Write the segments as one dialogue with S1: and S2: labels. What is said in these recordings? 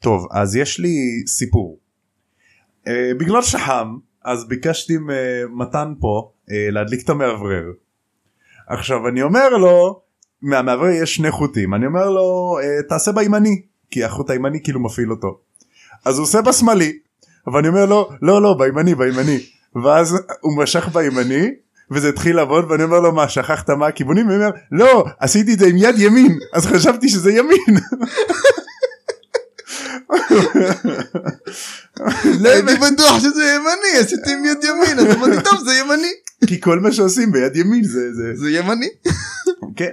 S1: טוב אז יש לי סיפור. אה, בגלל שחם אז ביקשתי ממתן פה אה, להדליק את המאוורר. עכשיו אני אומר לו מהמאוורר יש שני חוטים אני אומר לו אה, תעשה בימני כי החוט הימני כאילו מפעיל אותו. אז הוא עושה בשמאלי ואני אומר לו לא לא בימני בימני ואז הוא משך בימני וזה התחיל לעבוד ואני אומר לו מה שכחת מה הכיוונים? הוא אומר לא עשיתי את זה עם יד ימין אז חשבתי שזה ימין.
S2: לא הייתי בטוח שזה ימני, עשיתי עם יד ימין, אז אמרתי טוב זה ימני.
S1: כי כל מה שעושים ביד ימין זה זה
S2: זה ימני.
S1: כן.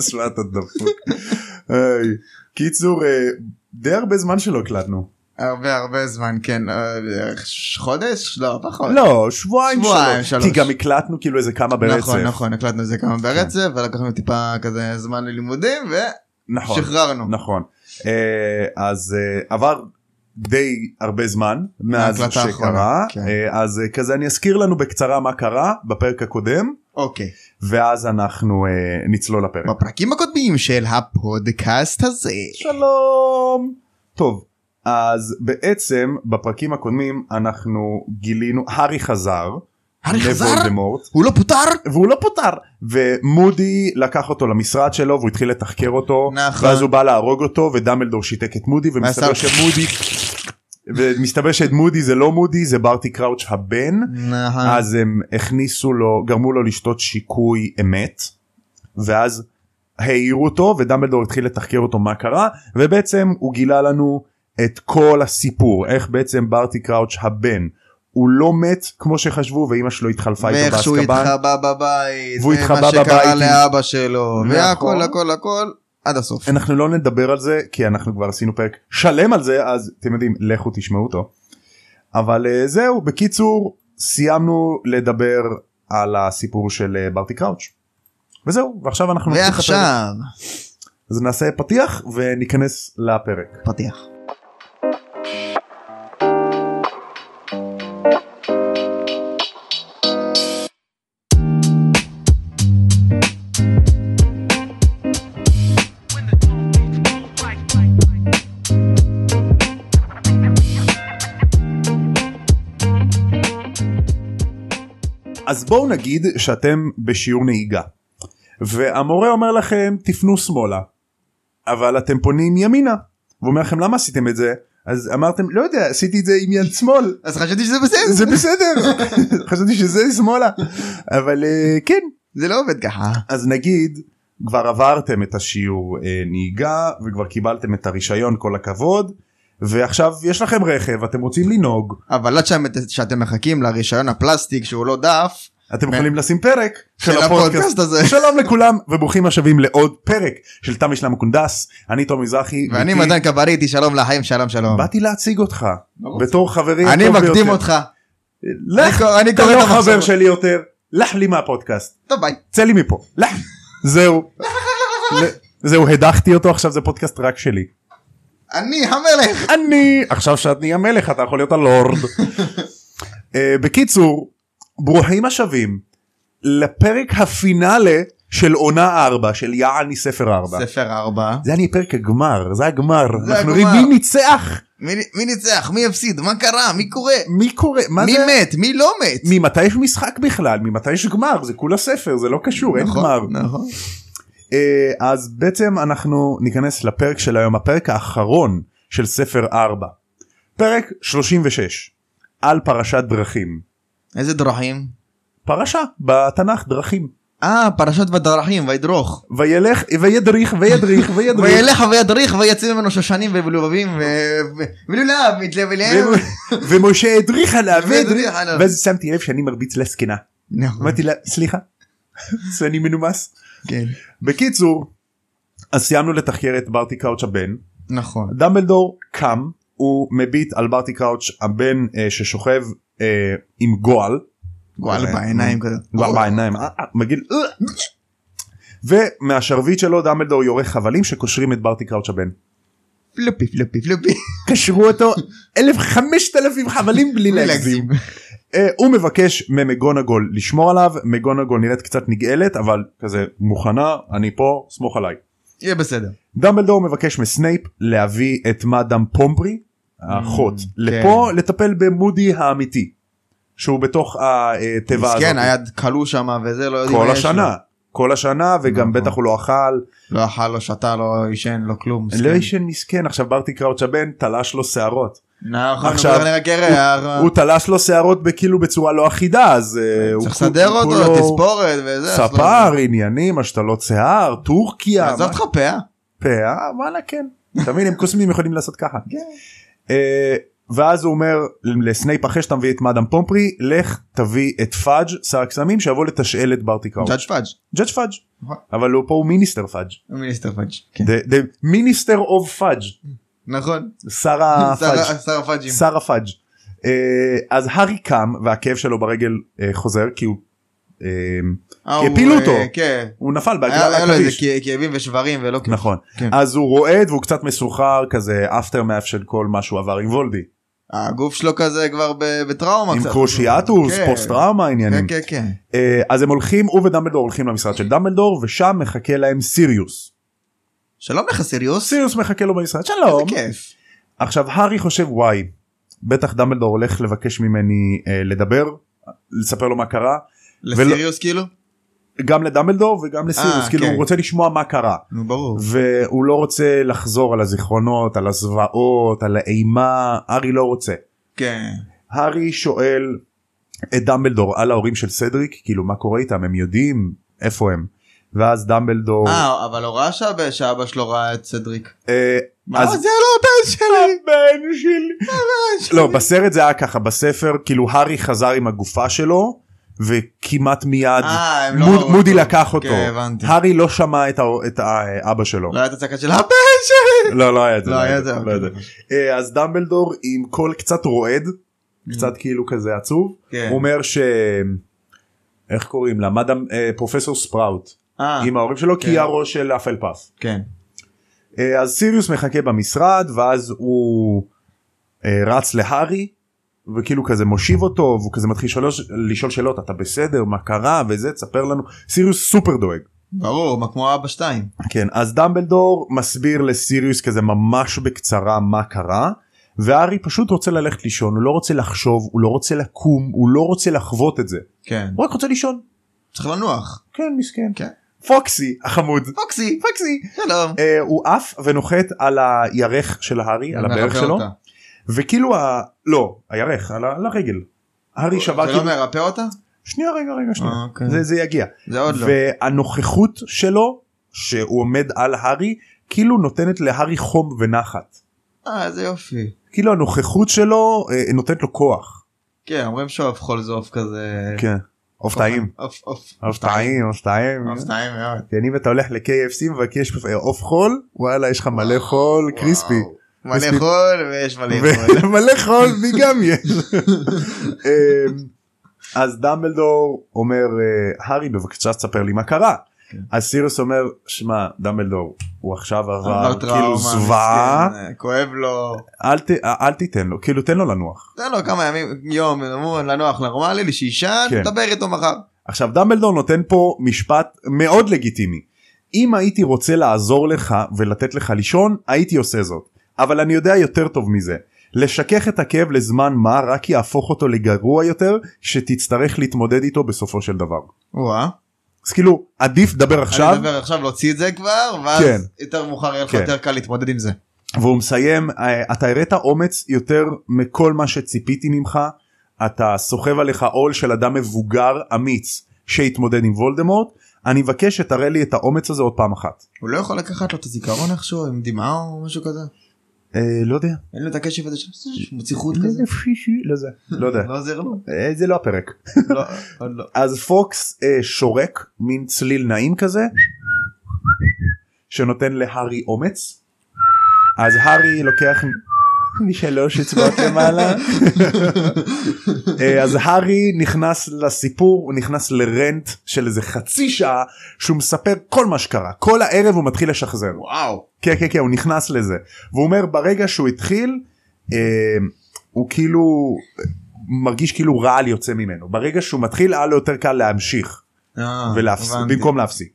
S1: שמע אתה דפוק. היי. קיצור אה, די הרבה זמן שלא הקלטנו.
S2: הרבה הרבה זמן, כן. אה, חודש? לא, פחות.
S1: לא שבועיים
S2: שבועיים,
S1: שלוש.
S2: שלוש.
S1: כי גם הקלטנו כאילו איזה כמה ברצף.
S2: נכון, נכון, הקלטנו את זה כמה ברצף, ולקחנו טיפה כזה זמן ללימודים,
S1: נכון.
S2: ושחררנו.
S1: נכון. אה, אז אה, עבר די הרבה זמן מאז
S2: מההקלטה
S1: שקרה
S2: האחרונה, כן.
S1: אה, אז אה, כזה אני אזכיר לנו בקצרה מה קרה בפרק הקודם
S2: אוקיי.
S1: ואז אנחנו אה, נצלול לפרק.
S2: בפרקים הקודמים של הפודקאסט הזה.
S1: שלום. טוב אז בעצם בפרקים הקודמים אנחנו גילינו הארי חזר.
S2: הארי חזר?
S1: לוולדמורט,
S2: הוא לא פוטר?
S1: והוא לא פוטר ומודי לקח אותו למשרד שלו והוא התחיל לתחקר אותו
S2: נכון.
S1: ואז הוא בא להרוג אותו ודמבלדור שיתק את מודי ומסתבר
S2: ועשה-
S1: שמודי ומסתבר שאת מודי זה לא מודי זה ברטי קראוץ' הבן
S2: נכון.
S1: אז הם הכניסו לו גרמו לו לשתות שיקוי אמת ואז העירו אותו ודמבלדור התחיל לתחקר אותו מה קרה ובעצם הוא גילה לנו את כל הסיפור איך בעצם ברטי קראוץ' הבן הוא לא מת כמו שחשבו ואימא שלו התחלפה איתו
S2: ואיך שהוא
S1: באסקבן.
S2: התחבא בבית,
S1: והוא התחבא
S2: ומה
S1: בבית
S2: שקרה
S1: עם-
S2: לאבא שלו,
S1: נכון.
S2: והכל הכל הכל עד הסוף.
S1: אנחנו לא נדבר על זה כי אנחנו כבר עשינו פרק שלם על זה אז אתם יודעים לכו תשמעו אותו. אבל אה, זהו בקיצור סיימנו לדבר על הסיפור של אה, ברטי קראוץ'. וזהו ועכשיו אנחנו נתחיל את הפרק.
S2: ועכשיו
S1: אז נעשה פתיח וניכנס לפרק.
S2: פתיח.
S1: אז בואו נגיד שאתם בשיעור נהיגה והמורה אומר לכם תפנו שמאלה אבל אתם פונים ימינה והוא אומר לכם למה עשיתם את זה אז אמרתם לא יודע עשיתי את זה עם יד שמאל
S2: אז חשבתי שזה בסדר,
S1: כן, זה בסדר חשבתי שזה שמאלה אבל אה, כן
S2: זה לא עובד ככה.
S1: אז נגיד כבר עברתם את השיעור אה, נהיגה וכבר קיבלתם את הרישיון כל הכבוד ועכשיו יש לכם רכב אתם רוצים לנהוג
S2: אבל עד שאת- שאתם מחכים לרישיון הפלסטיק שהוא לא דף,
S1: אתם
S2: כן.
S1: יכולים לשים פרק
S2: של הפודקאסט הזה.
S1: שלום לכולם וברוכים השבים לעוד פרק של תם ישלם הקונדס אני תום מזרחי
S2: ואני
S1: ואיתי-
S2: מתן קבריטי, שלום לחיים, שלום שלום.
S1: באתי להציג אותך
S2: ברור.
S1: בתור חברי
S2: לא אני
S1: הטוב
S2: מקדים
S1: ביותר.
S2: אותך, אני
S1: לך
S2: קורא- אני
S1: אתה
S2: קורא את
S1: לא
S2: המחשבות.
S1: חבר שלי יותר לך לי מהפודקאסט
S2: טוב ביי.
S1: צא לי מפה לך זהו ל- זהו הדחתי אותו עכשיו זה פודקאסט רק שלי
S2: אני המלך.
S1: אני עכשיו שאת נהיה מלך אתה יכול להיות הלורד. אה, בקיצור ברוכים השבים לפרק הפינאלה של עונה 4 של יעני ספר 4.
S2: ספר ארבע.
S1: זה אני פרק הגמר זה הגמר
S2: זה
S1: אנחנו
S2: הגמר.
S1: רואים מי ניצח
S2: מי מי ניצח? מי הפסיד? מה קרה? מי קורה?
S1: מי קורא מה
S2: מי
S1: זה
S2: מת? מי לא מת?
S1: ממתי יש משחק בכלל ממתי יש גמר זה כולה ספר זה לא קשור אין
S2: נכון,
S1: גמר
S2: נכון.
S1: אה, אז בעצם אנחנו ניכנס לפרק של היום הפרק האחרון של ספר 4 פרק 36 על פרשת דרכים
S2: איזה דרכים?
S1: פרשה בתנ"ך דרכים
S2: אה, פרשת בדרכים, וידרוך.
S1: וילך וידריך וידריך וידריך
S2: וילך וידריך ויצאו ממנו שושנים ולובבים ו- ו- ולולב מתלב אליהם.
S1: ו- ומשה הדריך עליו
S2: כן. והדריך
S1: והדריך.
S2: עליו.
S1: ואז שמתי לב שאני מרביץ לזקנה
S2: נכון,
S1: אמרתי לה סליחה שאני מנומס
S2: כן.
S1: בקיצור אז סיימנו לתחקר את ברטי קראוץ' הבן
S2: נכון.
S1: דמבלדור קם הוא מביט על ברטי קראוץ' הבן אה, ששוכב אה, עם גועל
S2: גועל
S1: אה,
S2: בעיניים כזה.
S1: גועל בעיניים אה, אה, מגעיל אה. ומהשרביט שלו דמבלדור יורה חבלים שקושרים את ברטי קראוץ' הבן.
S2: פלופי פלופי פלופי.
S1: קשרו אותו 1,500 חבלים בלי להגזים.
S2: להגזים.
S1: אה, הוא מבקש ממגונגול לשמור עליו מגונגול נראית קצת נגאלת אבל כזה מוכנה אני פה סמוך עליי.
S2: יהיה בסדר.
S1: דמבלדור מבקש מסנייפ להביא את מאדם פומפרי האחות
S2: Mm,
S1: לפה לטפל במודי האמיתי שהוא בתוך התיבה הזאת
S2: מסכן, היה כן, כלוא שם וזה, לא יודעים
S1: כל
S2: מה יש לו.
S1: השנה כל השנה וגם
S2: נכון.
S1: בטח הוא לא אכל
S2: לא אכל, לא שתה, לא עישן, לא כלום. מסכן.
S1: לא ישן מסכן עכשיו ברטי קראוץ' הבן תלש לו שערות
S2: נכון,
S1: עכשיו,
S2: הוא כנראה קרע.
S1: הוא תלש לו שערות בכאילו בצורה לא אחידה אז אה, הוא
S2: צריך
S1: כול-
S2: לסדר
S1: כולו
S2: אותו, תספורת וזה. אז לא-
S1: ספר עניינים השתלות שיער טורקיה
S2: עזוב
S1: מה-
S2: לך פאה.
S1: פאה וואלה כן אתה מבין הם קוסמים יכולים לעשות ככה
S2: כן.
S1: אה, ואז הוא אומר לסנייפ אחרי שאתה מביא את מאדם פומפרי לך תביא את פאג' שר הקסמים שיבוא לתשאל את ברטי קראוץ'
S2: ג'אדג' פאג'.
S1: ג'אדג' פאג'
S2: נכון.
S1: אבל הוא פה הוא מיניסטר פאג'
S2: מיניסטר פאג'. כן.
S1: The the minister of פאג'
S2: נכון.
S1: שר הפאג'
S2: שר- שר הפאג'ים.
S1: שר הפאג' אה, אז הארי קם והכאב שלו ברגל אה, חוזר כי הוא אה,
S2: אה,
S1: כי
S2: הוא,
S1: הפילו
S2: אה,
S1: אותו.
S2: כן.
S1: הוא נפל
S2: היה
S1: בהגלל
S2: היה לו איזה
S1: הכביש
S2: כ- כאבים ושברים ולא כיף.
S1: נכון
S2: כן.
S1: אז הוא רועד והוא קצת מסוחרר כזה אפטר מאף של כל מה שהוא עבר עם וולדי
S2: הגוף שלו כזה כבר ב- בטראומה
S1: עם
S2: קצת.
S1: קרושיאטוס
S2: כן.
S1: פוסט טראומה עניינים
S2: כן כן כן.
S1: אה, אז הם הולכים הוא ודמבלדור הולכים למשרד של דמבלדור ושם מחכה להם סיריוס.
S2: שלום לך סיריוס.
S1: סיריוס מחכה לו במשרד
S2: איזה
S1: שלום
S2: כיף.
S1: עכשיו הארי חושב וואי בטח דמבלדור הולך לבקש ממני אה, לדבר לספר לו מה קרה
S2: לסיריוס כאילו?
S1: גם לדמבלדור וגם לסיריוס
S2: אה,
S1: כאילו
S2: כן.
S1: הוא רוצה לשמוע מה קרה
S2: נו ברור.
S1: והוא לא רוצה לחזור על הזיכרונות על הזוועות על האימה הארי לא רוצה.
S2: כן.
S1: הארי שואל את דמבלדור על ההורים של סדריק כאילו מה קורה איתם הם יודעים איפה הם ואז דמבלדור
S2: אה אבל הוא ראה שאבא- שאבא שלו ראה את סדריק.
S1: אה,
S2: מה
S1: אז-
S2: זה לא הבן שלי.
S1: הבן שלי.
S2: הבן שלי.
S1: לא בסרט זה היה ככה בספר כאילו הארי חזר עם הגופה שלו וכמעט מיד
S2: אה, הם לא
S1: מוד,
S2: ראו
S1: מודי
S2: אותו.
S1: לקח אותו
S2: כן, הבנתי.
S1: הארי לא שמע את, ה, את האבא שלו
S2: לא היה את הצעקה של הבן שלי.
S1: לא לא היה את זה
S2: לא היה את זה.
S1: לא היה את זה. אה, אז דמבלדור עם קול קצת רועד קצת כאילו כזה עצוב
S2: Mm. כן.
S1: הוא אומר ש... איך קוראים לה? מאדם אה, פרופסור ספראוט
S2: אה,
S1: עם ההורים שלו כי
S2: כן.
S1: היא הראש של אפלפף.
S2: כן.
S1: אה, אז סיריוס מחכה במשרד ואז הוא אה, רץ להארי וכאילו כזה מושיב אותו והוא כזה מתחיל לשאול, לשאול שאלות אתה בסדר מה קרה וזה תספר לנו סיריוס סופר דואג.
S2: ברור מה כמו אבא שתיים.
S1: כן אז דמבלדור מסביר לסיריוס כזה ממש בקצרה מה קרה והארי פשוט רוצה ללכת לישון הוא לא רוצה לחשוב הוא לא רוצה לקום הוא לא רוצה לחוות את זה
S2: כן.
S1: הוא רק רוצה לישון.
S2: צריך לנוח.
S1: כן מסכן.
S2: כן.
S1: פוקסי החמוד.
S2: פוקסי.
S1: פוקסי.
S2: שלום.
S1: אה, הוא עף ונוחת על הירך של הארי אה, על הברך
S2: מרפא
S1: שלו.
S2: אותה.
S1: וכאילו ה... לא, הירך, על, ה... על הרגל. הארי שווה
S2: זה לא
S1: כאילו...
S2: מרפא אותה?
S1: שנייה רגע רגע שנייה.
S2: אה, אוקיי.
S1: זה, זה יגיע.
S2: זה עוד לא.
S1: והנוכחות שלו, שהוא עומד על הארי, כאילו נותנת להארי חום ונחת.
S2: אה איזה יופי.
S1: כאילו הנוכחות שלו אה, נותנת לו כוח.
S2: כן אומרים שעוף חול זה עוף כזה.
S1: כן. עוף טעים.
S2: עוף עוף.
S1: עוף טעים, עוף טעים.
S2: עוף טעים אה, מאוד.
S1: כן, אם אתה הולך ל-KFC מבקש עוף חול, וואלה יש לך מלא חול קריספי.
S2: וואו. מלא
S1: קריספי.
S2: חול ויש מלא חול.
S1: מלא חול בי גם יש. אמ, אז דמבלדור אומר אה, הארי בבקשה תספר לי מה קרה.
S2: כן.
S1: אז סיריוס אומר שמע דמבלדור הוא עכשיו עבר כאילו
S2: טראומה,
S1: זוועה
S2: מסכן, אה, כואב לו.
S1: אל ת- אל תיתן לו כאילו תן לו לנוח.
S2: תן לו כמה ימים יום אמרו, לנוח נורמלי שישן
S1: כן.
S2: תדבר איתו מחר.
S1: עכשיו דמבלדור נותן פה משפט מאוד לגיטימי. אם הייתי רוצה לעזור לך ולתת לך לישון הייתי עושה זאת אבל אני יודע יותר טוב מזה. לשכך את הכאב לזמן מה רק יהפוך אותו לגרוע יותר שתצטרך להתמודד איתו בסופו של דבר.
S2: וואה.
S1: אז כאילו עדיף דבר עכשיו
S2: אני מדבר עכשיו להוציא את זה כבר
S1: כן.
S2: ואז יותר מאוחר יהיה לך
S1: כן.
S2: יותר קל להתמודד עם זה.
S1: והוא מסיים "אה, אתה הראת אומץ יותר מכל מה שציפיתי ממך אתה סוחב עליך עול של אדם מבוגר אמיץ שהתמודד עם וולדמורט אני מבקש שתראה לי את האומץ הזה עוד פעם אחת.
S2: הוא לא יכול לקחת לו את הזיכרון איכשהו עם דמעה או משהו כזה?
S1: אה, לא יודע.
S2: אין לו את הקשב הזה של מוציא חוט כזה?
S1: לא זה. לא יודע.
S2: לא עוזר לו?
S1: אה, זה לא הפרק.
S2: לא, עוד לא.
S1: אז פוקס אה, שורק מין צליל נעים כזה שנותן להארי אומץ אז הארי לוקח מ- משלוש אצבעות למעלה אה, אז הארי נכנס לסיפור הוא נכנס לרנט של איזה חצי שעה שהוא מספר כל מה שקרה כל הערב הוא מתחיל לשחזר
S2: וואו.
S1: כן כן כן הוא נכנס לזה והוא אומר ברגע שהוא התחיל אה, הוא כאילו מרגיש כאילו רעל יוצא ממנו ברגע שהוא מתחיל היה לו יותר קל להמשיך
S2: אה,
S1: ולהפסיק
S2: הבנתי.
S1: במקום להפסיק.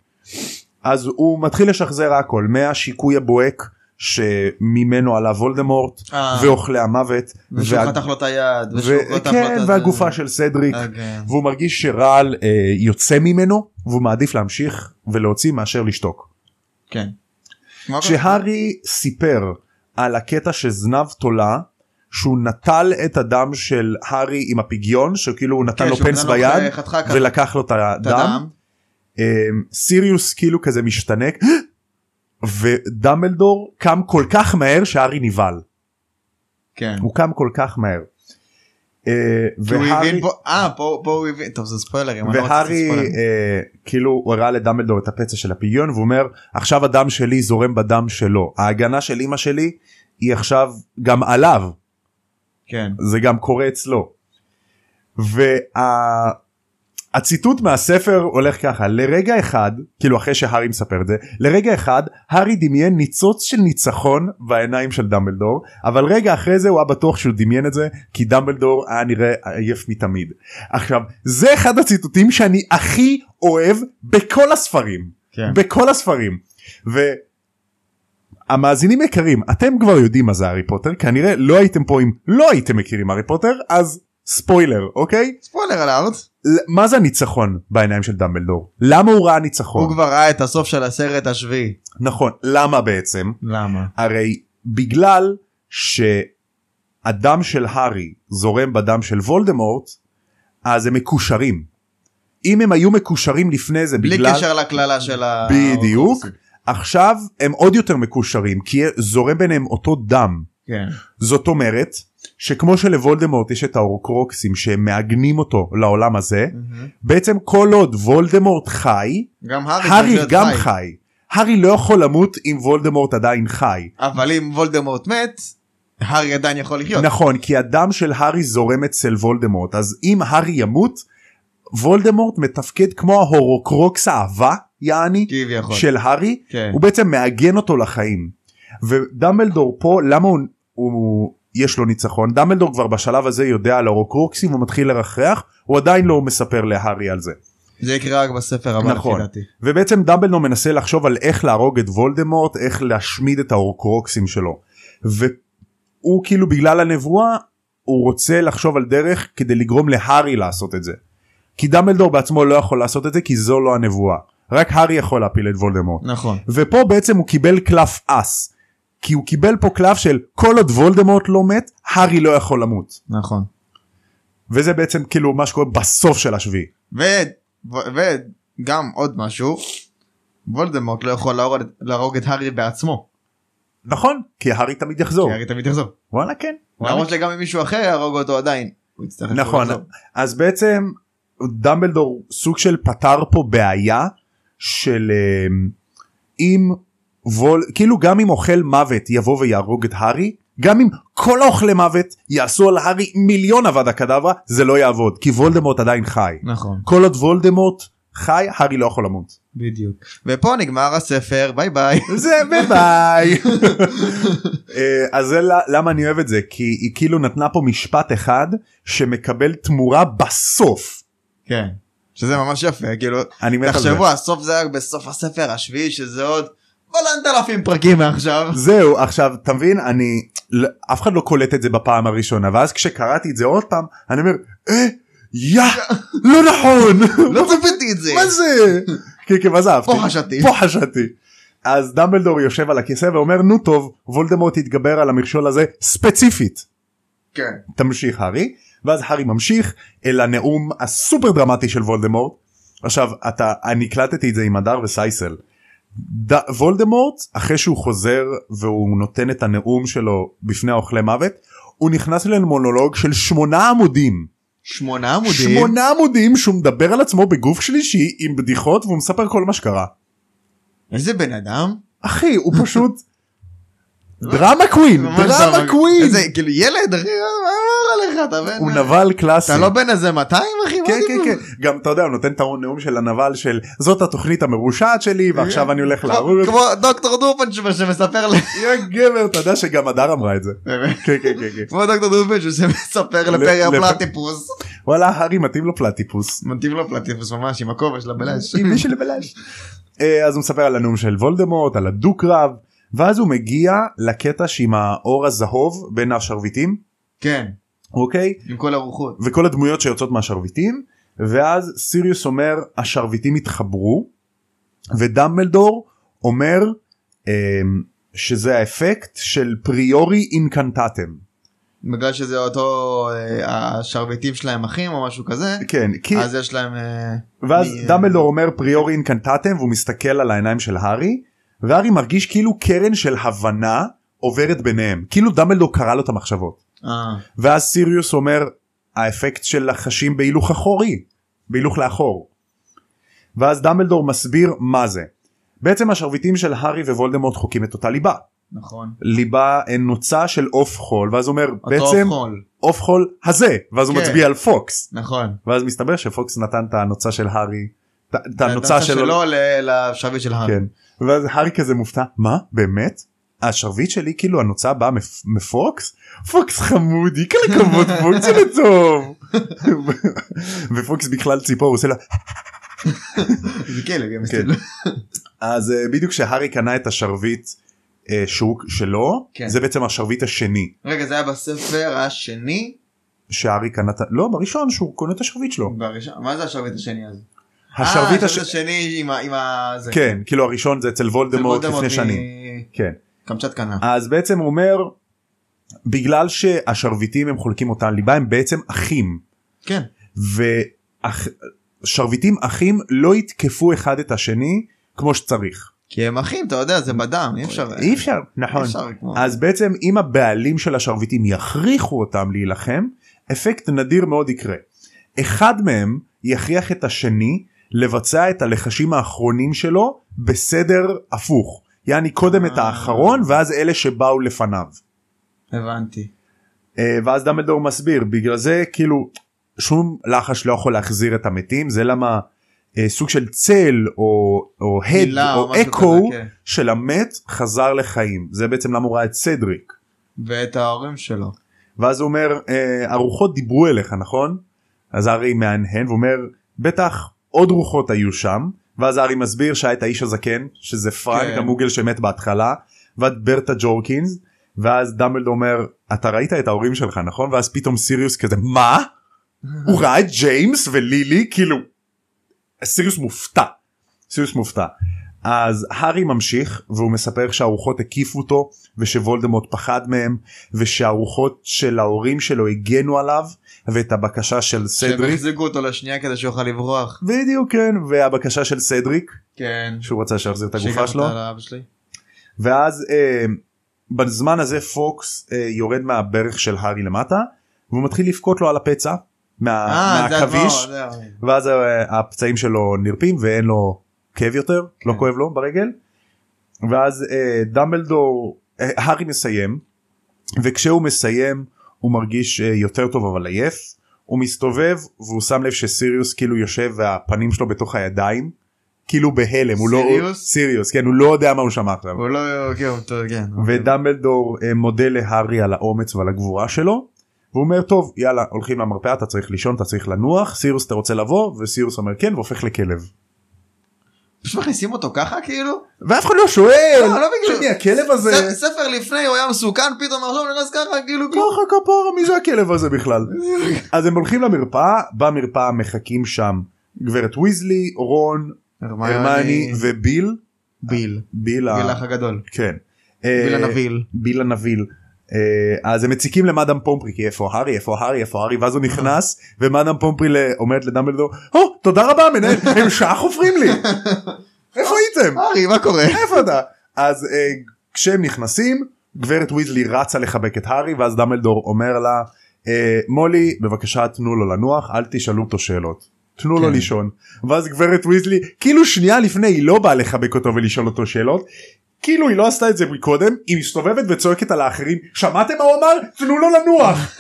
S1: אז הוא מתחיל לשחזר הכל מהשיקוי הבוהק שממנו עלה וולדמורט
S2: אה.
S1: ואוכלי המוות
S2: ושהוא
S1: וה-
S2: חתך לו את היד,
S1: ו-
S2: ושהוא חתך לו את
S1: כן,
S2: הזה.
S1: והגופה של סדריק
S2: אה, כן.
S1: והוא מרגיש שרעל אה, יוצא ממנו והוא מעדיף להמשיך ולהוציא מאשר לשתוק.
S2: כן. מה קורה?
S1: כשהארי סיפר על הקטע שזנב תולה שהוא נטל את הדם של הארי עם הפיגיון שכאילו הוא נתן
S2: כן,
S1: לו
S2: שהוא
S1: פנס
S2: נתן לו
S1: ביד
S2: חתיכה כזאת.
S1: ולקח לו את
S2: את
S1: הדם.
S2: הדם.
S1: אמ, סיריוס כאילו כזה משתנק ודמבלדור קם כל כך מהר שהארי נבהל
S2: כן.
S1: הוא קם כל כך מהר. אה,
S2: כי הוא
S1: והארי-
S2: הבין פה, אה, פה פה הוא הבין, טוב זה ספוילרים, אני לא רוצה לעשות
S1: והארי
S2: ספוילרים.
S1: אה, כאילו הוא הראה לדמבלדור את הפצע של הפיגיון והוא אומר עכשיו הדם שלי זורם בדם שלו ההגנה של אמא שלי היא עכשיו גם עליו
S2: כן.
S1: זה גם קורה אצלו. והציטוט מהספר הולך ככה לרגע אחד כאילו אחרי שהארי מספר את זה לרגע אחד הארי דמיין ניצוץ של ניצחון בעיניים של דמבלדור אבל רגע אחרי זה הוא היה בטוח שהוא דמיין את זה כי דמבלדור היה נראה עייף מתמיד. עכשיו זה אחד הציטוטים שאני הכי אוהב בכל הספרים
S2: כן.
S1: בכל הספרים. ו... המאזינים יקרים אתם כבר יודעים מה זה הארי פוטר כנראה לא הייתם פה אם לא הייתם מכירים הארי פוטר אז ספוילר אוקיי
S2: ספוילר אלארט,
S1: ל- מה זה הניצחון בעיניים של דמבלדור למה הוא ראה
S2: הוא
S1: ניצחון
S2: כבר ראה את הסוף של הסרט השביעי.
S1: נכון למה בעצם
S2: למה?
S1: הרי בגלל שהדם של הארי זורם בדם של וולדמורט אז הם מקושרים אם הם היו מקושרים לפני זה
S2: בלי
S1: בגלל
S2: קשר לקללה של ה...
S1: בדיוק עכשיו הם עוד יותר מקושרים כי זורם ביניהם אותו דם.
S2: כן.
S1: זאת אומרת שכמו שלוולדמורט יש את האורקרוקסים שמעגנים אותו לעולם הזה בעצם כל עוד וולדמורט חי
S2: גם הארי צריך
S1: הארי
S2: להיות
S1: גם חי הארי לא יכול למות אם וולדמורט עדיין חי
S2: אבל אם וולדמורט מת, הארי עדיין יכול לחיות.
S1: נכון כי הדם של הארי זורם אצל וולדמורט אז אם הארי ימות וולדמורט מתפקד כמו ההורוקרוקס האהבה יעני
S2: כביכול.
S1: של הארי
S2: כן.
S1: הוא בעצם מעגן אותו לחיים ודמבלדור פה למה הוא, הוא יש לו ניצחון דמבלדור כבר בשלב הזה יודע על אורוקרוקסים הוא מתחיל לרחרח הוא עדיין לא מספר להארי על זה
S2: זה יקרה רק בספר הבא לפי
S1: נכון.
S2: דעתי.
S1: ובעצם דמבלדור מנסה לחשוב על איך להרוג את וולדמורט איך להשמיד את האורוקרוקסים שלו והוא כאילו בגלל הנבואה הוא רוצה לחשוב על דרך כדי לגרום להארי לעשות את זה כי דמבלדור בעצמו לא יכול לעשות את זה כי זו לא הנבואה רק הארי יכול להפיל את וולדמורט.
S2: נכון.
S1: ופה בעצם הוא קיבל קלף אס. כי הוא קיבל פה קלף של כל עוד וולדמורט לא מת, הארי לא יכול למות.
S2: נכון.
S1: וזה בעצם כאילו מה שקורה בסוף של השביעי.
S2: ו- ו- וגם עוד משהו, וולדמורט לא יכול להרוג, להרוג את הארי בעצמו.
S1: נכון? כי הארי תמיד יחזור.
S2: כי הארי תמיד יחזור.
S1: וואלה כן. וואלה.
S2: למרות שגם אם מישהו אחר יהרוג אותו עדיין. הוא יצטרך
S1: נכון.
S2: לחזור.
S1: אז בעצם דמבלדור סוג של פתר פה בעיה של אמ, אם וול... כאילו גם אם אוכל מוות יבוא ויהרוג את הארי, גם אם כל האוכלי מוות יעשו על הארי מיליון אבדה קדברה, זה לא יעבוד. כי וולדמורט עדיין חי.
S2: נכון.
S1: כל עוד וולדמורט חי הארי לא יכול למות.
S2: בדיוק. ופה נגמר הספר ביי ביי.
S1: זה ביי. אה, אז זה ל- למה אני אוהב את זה כי היא כאילו נתנה פה משפט אחד שמקבל תמורה בסוף.
S2: כן. שזה ממש יפה כאילו
S1: אני מת על זה.
S2: תחשבו הסוף זה היה בסוף הספר השביעי שזה עוד בלנט אלפים פרקים מעכשיו.
S1: זהו עכשיו אתה מבין אני לא- אף אחד לא קולט את זה בפעם הראשונה ואז כשקראתי את זה עוד פעם אני אומר אה יא לא נכון
S2: לא צפיתי את זה.
S1: מה זה? כן כן מה זה אהבתי?
S2: פה חשדתי.
S1: פה חשדתי. אז דמבלדור יושב על הכיסא ואומר נו טוב וולדמורט יתגבר על המכשול הזה ספציפית.
S2: כן.
S1: תמשיך הארי ואז הארי ממשיך אל הנאום הסופר דרמטי של וולדמורט. עכשיו אתה אני הקלטתי את זה עם הדר וסייסל. ד, וולדמורט אחרי שהוא חוזר והוא נותן את הנאום שלו בפני האוכלי מוות הוא נכנס למונולוג של שמונה עמודים.
S2: שמונה עמודים.
S1: שמונה עמודים שהוא מדבר על עצמו בגוף שלישי עם בדיחות והוא מספר כל מה שקרה.
S2: איזה בן אדם.
S1: אחי הוא פשוט דרמה קווין
S2: ממש
S1: דרמה
S2: זרק.
S1: קווין
S2: איזה כאילו ילד אחי מה אמר לך אתה
S1: הוא
S2: בן.
S1: נבל קלאסי.
S2: אתה לא בן איזה 200 אחי. מה
S1: כן
S2: זה?
S1: כן כן גם אתה יודע הוא נותן את הנאום של הנבל של זאת התוכנית המרושעת שלי ועכשיו אני הולך
S2: כמו-
S1: להרוג אותך.
S2: כמו דוקטור דורפנצ'בר שמספר ל...
S1: יא גבר אתה יודע שגם הדר אמרה את זה. כן כן כן כן.
S2: כמו דוקטור דורפנצ'בר שמספר
S1: ל-
S2: לפרי
S1: לפ-
S2: הפלטיפוס.
S1: וואלה הארי מתאים לו פלטיפוס.
S2: מתאים לו פלטיפוס ממש עם הכובע של הבלש.
S1: עם מי שלבלש. אה, אז הוא מספר על הנאום של וולדמורט על הדו-קרב ואז הוא מגיע לקטע שעם האור הזהוב בין השרביטים
S2: כן
S1: אוקיי
S2: עם כל הרוחות
S1: וכל הדמויות שיוצאות מהשרביטים ואז סיריוס אומר השרביטים התחברו ודמבלדור אומר אמ, שזה האפקט של פריורי אינקנטטם
S2: בגלל שזה אותו אה, השרביטים שלהם אחים או משהו כזה
S1: כן כי
S2: אז יש להם אה,
S1: ואז
S2: אני, אה,
S1: דמבלדור אומר פריורי אינקנטטם והוא מסתכל על העיניים של הארי והארי מרגיש כאילו קרן של הבנה עוברת ביניהם כאילו דמבלדור קרא לו את המחשבות
S2: אה,
S1: ואז סיריוס אומר האפקט של החשים בהילוך אחורי בהילוך לאחור. ואז דמבלדור מסביר מה זה. בעצם השרביטים של הארי ווולדמורט חוקים את אותה ליבה.
S2: נכון
S1: ליבה אה, נוצה של עוף חול ואז הוא אומר בעצם
S2: אותו חול
S1: עוף חול הזה ואז הוא
S2: כן.
S1: מצביע על פוקס
S2: נכון
S1: ואז מסתבר שפוקס נתן את הנוצה של הארי את- את הנוצה
S2: הנוצה
S1: שלו
S2: שלו ל- לשרביט של הארי
S1: כן. ואז הארי כזה מופתע מה באמת השרביט שלי כאילו הנוצה באה מפ- מפוקס פוקס חמודי כל הכבוד פוקס זה טוב ופוקס בכלל ציפור הוא עושה לה
S2: זה כאילו, כלב יא
S1: כן.
S2: מסתכל.
S1: אז אה, בדיוק כשהארי קנה את השרביט אה, שהוא שלו
S2: כן.
S1: זה בעצם השרביט השני
S2: רגע זה היה בספר השני
S1: שהארי קנה את ה- לא בראשון שהוא קונה את השרביט שלו
S2: בראשון מה זה השרביט השני אז אה,
S1: השרביט השני
S2: השני עם ה- עם ה... זה.
S1: כן כאילו הראשון זה אצל
S2: זה
S1: וולדמורט
S2: וולדמורט
S1: לפני
S2: מ-
S1: שנים כן
S2: קמצ'טקנה.
S1: אז בעצם הוא אומר בגלל שהשרביטים הם חולקים אותה ליבה הם בעצם אחים
S2: כן.
S1: ושרביטים אחים לא יתקפו אחד את השני כמו שצריך.
S2: כי הם אחים אתה יודע זה בדם אי אפשר. אה,
S1: אי אפשר נכון.
S2: אי אפשר כמו-
S1: אז בעצם אם הבעלים של השרביטים יכריחו אותם להילחם אפקט נדיר מאוד יקרה. אחד מהם יכריח את השני לבצע את הלחשים האחרונים שלו בסדר הפוך. יעני קודם את
S2: אה.
S1: האחרון ואז אלה שבאו לפניו.
S2: הבנתי.
S1: אה, ואז דמבלדור מסביר בגלל זה כאילו שום לחש לא יכול להחזיר את המתים זה למה אה, סוג של צל או או הד
S2: הילה או
S1: או
S2: משהו
S1: אקו
S2: כזה, כן.
S1: של המת חזר לחיים זה בעצם למה הוא ראה את סדריק
S2: ואת ההורים שלו.
S1: ואז הוא אומר אה, הרוחות דיברו אליך נכון אז הארי מהנהן ואומר בטח עוד רוחות היו שם ואז הארי מסביר שהיה את האיש הזקן שזה פרנק
S2: כן.
S1: המוגל שמת בהתחלה ועד ברטה ג'ורקינס ואז דמבלדור אומר אתה ראית את ההורים שלך נכון ואז פתאום סיריוס כזה מה הוא ראה את ג'יימס ולילי כאילו סיריוס מופתע סיריוס מופתע אז הארי ממשיך והוא מספר שהרוחות הקיפו אותו ושוולדמורט פחד מהם ושהרוחות של ההורים שלו הגנו עליו ואת הבקשה של
S2: שהם
S1: סדריק
S2: החזיקו אותו לשנייה כדי שהוא יוכל לברוח.
S1: בדיוק כן והבקשה של סדריק
S2: כן.
S1: שהוא רצה שיחזיר את הגופה
S2: שיקח
S1: שלו
S2: אותה לאבא שלי.
S1: ואז אה, בזמן הזה פוקס אה, יורד מהברך של הארי למטה והוא מתחיל לבכות לו על הפצע מה,
S2: אה זה
S1: מהכביש
S2: הדבר. זה ה-
S1: ואז אה, הפצעים שלו נרפים ואין לו כאב יותר לא כואב לו ברגל ואז אה, דמבלדור אה, הארי מסיים וכשהוא מסיים הוא מרגיש אה, יותר טוב אבל עייף הוא מסתובב והוא שם לב שסיריוס כאילו יושב והפנים שלו בתוך הידיים כאילו בהלם הוא לא
S2: סיריוס?
S1: סיריוס כן הוא לא יודע מה הוא שמע עכשיו
S2: הוא לא... כן, הוא- כן.
S1: ודמבלדור אה, מודה להארי על האומץ ועל הגבורה שלו. והוא אומר טוב יאללה הולכים למרפאה אתה צריך לישון אתה צריך לנוח סירוס אתה רוצה לבוא וסירוס אומר כן והופך לכלב.
S2: פשוט מכניסים אותו ככה כאילו?
S1: ואף אחד לא שואל
S2: לא, לא בגלל-
S1: מי הכלב הזה
S2: ס- ספר לפני הוא היה מסוכן פתאום עכשיו הוא נכנס ככה כאילו. כלום.
S1: ככה כפרה מי זה הכלב הזה בכלל. אז הם הולכים למרפאה במרפאה מחכים שם גברת ויזלי רון הרמני וביל
S2: ביל.
S1: ביל ה-
S2: ביל האח הגדול.
S1: כן.
S2: ביל
S1: אה,
S2: הנביל.
S1: ביל הנביל. אה, אז הם מציקים למאדם פומפרי כי איפה הארי איפה הארי איפה הארי ואז הוא נכנס ומאדם פומפרי ל- אומרת לדמבלדור הו תודה רבה מנהל הם שעה חופרים לי איפה הייתם
S2: ארי מה קורה?
S1: איפה אתה אז אה, כשהם נכנסים גברת ויזלי רצה לחבק את הארי ואז דמבלדור אומר לה אה, מולי בבקשה תנו לו לנוח אל תשאלו אותו שאלות. תנו לו
S2: כן.
S1: לישון ואז גברת ויזלי כאילו שנייה לפני היא לא באה לחבק אותו ולשאול אותו שאלות כאילו היא לא עשתה את זה מקודם היא מסתובבת וצועקת על האחרים שמעתם מה הוא אמר תנו לו לנוח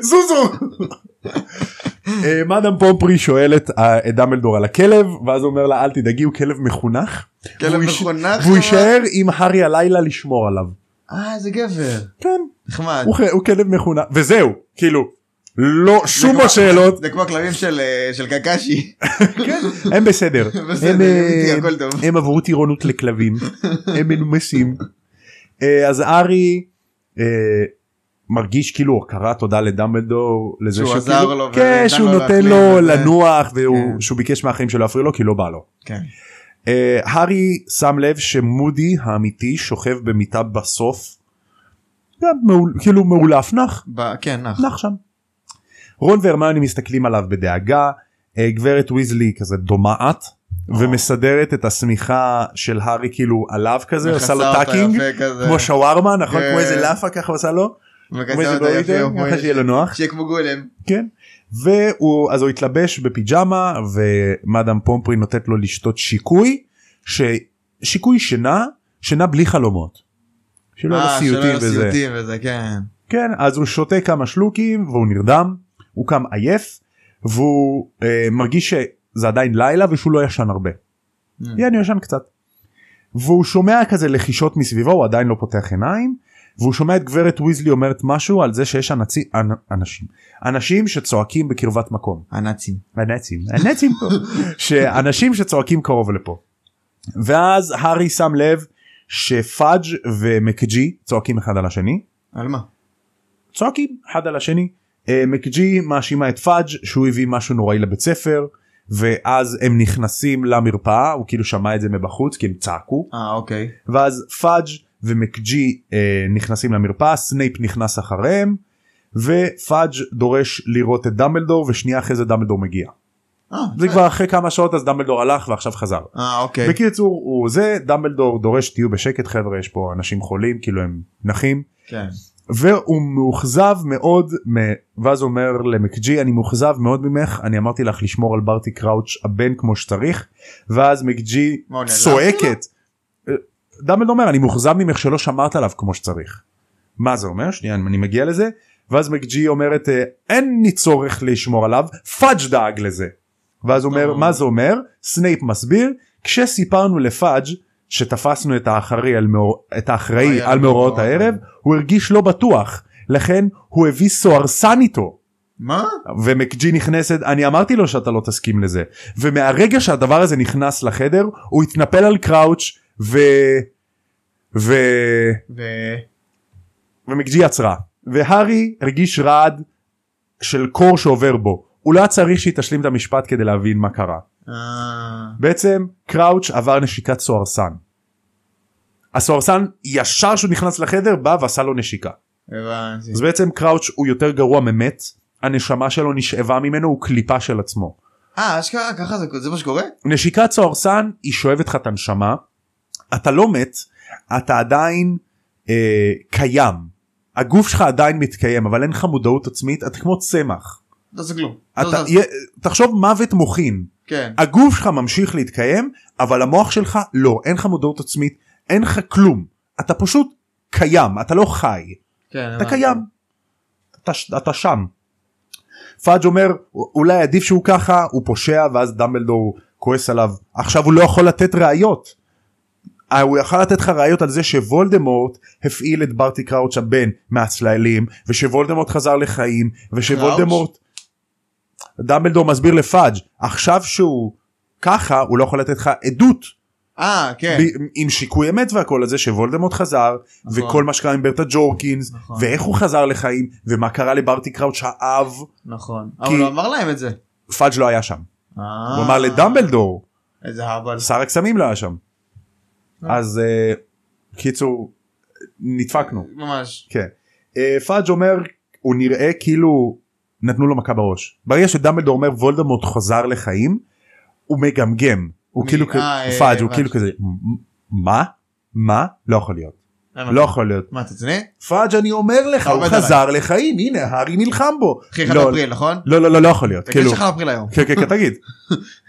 S1: זוזו. אה, מאדם פומפרי שואלת אה, את דמבלדור על הכלב ואז הוא אומר לה אל תדאגי הוא כלב מחונך
S2: כלב
S1: והוא יש-
S2: מחונך.
S1: והוא
S2: כלומר.
S1: יישאר עם הארי הלילה לשמור עליו.
S2: אה איזה גבר.
S1: כן
S2: נחמד.
S1: הוא, ח- הוא כלב מחונך וזהו כאילו לא שום
S2: כמו-
S1: השאלות
S2: זה כמו הכלבים של, אה, של קקשי.
S1: הם בסדר
S2: כן. בסדר,
S1: הם,
S2: הם איתי,
S1: אה,
S2: הכל טוב.
S1: הם עברו טירונות לכלבים הם מנומסים אה, אז ארי אה, מרגיש כאילו הכרת תודה לדמבלדור לזה
S2: שהוא
S1: שכאילו-
S2: עזר לו
S1: כן,
S2: ונתן
S1: שהוא
S2: לו
S1: נותן
S2: להחלים
S1: לו
S2: וזה.
S1: לנוח והוא-
S2: כן.
S1: שהוא ביקש מהחיים שלו להפריע לו כי לא בא לו.
S2: כן.
S1: אה, הארי שם לב שמודי האמיתי שוכב במיטה בסוף. גם מעול- כאילו מאולף נח
S2: ב- כן, נח.
S1: נח שם. רון והרמיוני מסתכלים עליו בדאגה אה, גברת ויזלי כזה דומעת ומסדרת את השמיכה של הארי כאילו עליו כזה עושה לו
S2: מכסה אותה
S1: טאקינג
S2: יפה כזה,
S1: כמו שווארמה נכון
S2: כן.
S1: כמו איזה לאפה ככה עושה לו.
S2: מכסה
S1: כמו איזה
S2: אותה יפה,
S1: דוריטר,
S2: כמו
S1: ככה שיהיה לו נוח.
S2: שיהיה כמו גולם.
S1: כן. והוא אז הוא התלבש בפיג'מה ומאדם פומפרי נותנת לו לשתות שיקוי ששיקוי שינה שינה בלי חלומות. שלא
S2: אה,
S1: יהיו סיוטים
S2: שלא
S1: לא וזה.
S2: לסיוטים וזה, כן.
S1: כן אז הוא שותה כמה שלוקים והוא נרדם הוא קם עייף והוא אה, מרגיש שזה עדיין לילה ושהוא לא ישן הרבה.
S2: Mm.
S1: יעני ישן קצת. והוא שומע כזה לחישות מסביבו הוא עדיין לא פותח עיניים והוא שומע את גברת ויזלי אומרת משהו על זה שיש אנצי, אנ, אנשים אנשים שצועקים בקרבת מקום
S2: הנאצים.
S1: הנאצים הנאצים פה שאנשים שצועקים קרוב לפה. ואז הארי שם לב שפאג' ומקג'י צועקים אחד על השני
S2: על מה?
S1: צועקים אחד על השני. אה, מקג'י מאשימה את פאג' שהוא הביא משהו נוראי לבית ספר ואז הם נכנסים למרפאה הוא כאילו שמע את זה מבחוץ כי הם צעקו
S2: אה, אוקיי.
S1: ואז פאג' ומקג'י אה, נכנסים למרפאה סנייפ נכנס אחריהם ופאג' דורש לראות את דמבלדור ושנייה אחרי זה דמבלדור מגיע.
S2: אה,
S1: זה כבר אחרי כמה שעות אז דמבלדור הלך ועכשיו חזר.
S2: אה, אוקיי.
S1: בקיצור הוא זה דמבלדור דורש תהיו בשקט חבר'ה יש פה אנשים חולים כאילו הם נחים
S2: כן.
S1: והוא מאוכזב מאוד מ- ואז הוא אומר למקג'י אני מאוכזב מאוד ממך אני אמרתי לך לשמור על ברטי קראוץ' הבן כמו שצריך ואז מקג'י
S2: מה, הוא נעלב
S1: צועקת. דמבלד אומר אני מאוכזב ממך שלא שמרת עליו כמו שצריך. מה זה אומר שנייה אני מגיע לזה ואז מקג'י אומרת "אה, אין לי צורך לשמור עליו פאג' דאג לזה. ואז הוא אומר
S2: אה.
S1: מה זה אומר סנייפ מסביר כשסיפרנו לפאג' שתפסנו את האחראי על, מאור... את האחראי
S2: היה
S1: על
S2: לו
S1: מאורעות
S2: מאורעות
S1: הערב
S2: הערב.
S1: הוא הרגיש לא בטוח לכן הוא הביא סוהרסן איתו
S2: מה?
S1: ומקג'י נכנסת אני אמרתי לו שאתה לא תסכים לזה ומהרגע שהדבר הזה נכנס לחדר הוא התנפל על קראוץ' ו... ו...
S2: ו...
S1: ומקג'י עצרה והארי הרגיש רעד של קור שעובר בו הוא לא צריך שהיא תשלים את המשפט כדי להבין מה קרה
S2: אה...
S1: בעצם קראוץ' עבר נשיקת סוהרסן. הסוהרסן ישר שהוא נכנס לחדר בא ועשה לו נשיקה.
S2: הבנתי.
S1: אז בעצם קראוץ' הוא יותר גרוע ממת, הנשמה שלו נשאבה ממנו, הוא קליפה של עצמו.
S2: אה, אשכרה ככה זה זה מה שקורה?
S1: נשיקת סוהרסן היא שואבת לך את הנשמה, אתה לא מת, אתה עדיין אה, קיים. הגוף שלך עדיין מתקיים אבל אין לך מודעות עצמית אתה כמו צמח.
S2: לא עושה כלום. לא
S1: אתה,
S2: זז.
S1: יה- תחשוב מוות מוחין
S2: כן.
S1: הגוף שלך ממשיך להתקיים אבל המוח שלך לא אין לך מודעות עצמית אין לך כלום אתה פשוט קיים אתה לא חי
S2: כן.
S1: אתה
S2: הבנתי.
S1: קיים אתה, ש- אתה שם. פאג' אומר אולי עדיף שהוא ככה הוא פושע ואז דמבלדור כועס עליו עכשיו הוא לא יכול לתת ראיות. אה, הוא יכל לתת לך ראיות על זה שוולדמורט הפעיל את ברטי קראוץ' הבן מהצללים ושוולדמורט חזר לחיים ושוולדמורט דמבלדור מסביר לפאג' עכשיו שהוא ככה הוא לא יכול לתת לך עדות
S2: אה, כן.
S1: ב- עם שיקוי אמת והכל הזה שוולדמורט חזר
S2: נכון.
S1: וכל מה שקרה עם ברטה ג'ורקינס
S2: נכון.
S1: ואיך הוא חזר לחיים ומה קרה לברטי קראוץ' האב
S2: נכון.
S1: כי-
S2: אבל הוא אמר להם את זה.
S1: פאג' לא היה שם
S2: אה.
S1: הוא אמר לדמבלדור
S2: איזה הבל.
S1: שר הקסמים לא היה שם
S2: אה.
S1: אז אה, קיצור נדפקנו
S2: ממש.
S1: כן אה, פאג' אומר הוא נראה כאילו נתנו לו מכה בראש ברגע שדמבלדור אומר וולדמורט חזר לחיים הוא מגמגם הוא
S2: מ-
S1: כאילו
S2: אה,
S1: כ-
S2: אה,
S1: פאג' הוא
S2: הבנתי.
S1: כאילו כזה "מ- מה מה לא יכול להיות
S2: למה?
S1: לא יכול להיות.
S2: מה, אתה צנע?
S1: פאג' אני אומר לך
S2: אתה
S1: הוא
S2: עובד
S1: חזר לחיים הנה הארי נלחם בו
S2: אחי, אחד
S1: לא,
S2: באפריל, נכון?
S1: לא לא לא לא יכול להיות
S2: תגיד
S1: כאילו
S2: שלך לאפריל היום.
S1: כן כן כן תגיד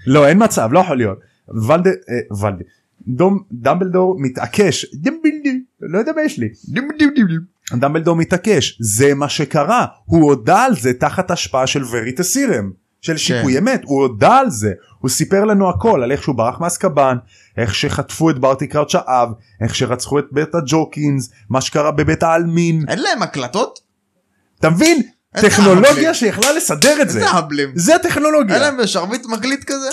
S1: לא אין מצב לא יכול להיות ולדה אה, ולדה דום דמבלדור מתעקש דמבלדור לא יודע מה יש לי
S2: דים דים דים דים.
S1: דמבלדור מתעקש זה מה שקרה הוא הודה על זה תחת השפעה של וריטה סירם של שיקוי אמת הוא הודה על זה הוא סיפר לנו הכל על איך שהוא ברח מאסקבן איך שחטפו את ברטי קראוץ' האב איך שרצחו את בית הג'וקינס מה שקרה בבית העלמין
S2: אין להם הקלטות?
S1: אתה מבין
S2: איזה הבלים?
S1: טכנולוגיה שיכלה לסדר את זה.
S2: איזה הבלים.
S1: זה הטכנולוגיה.
S2: אין להם שרביט מקליט כזה?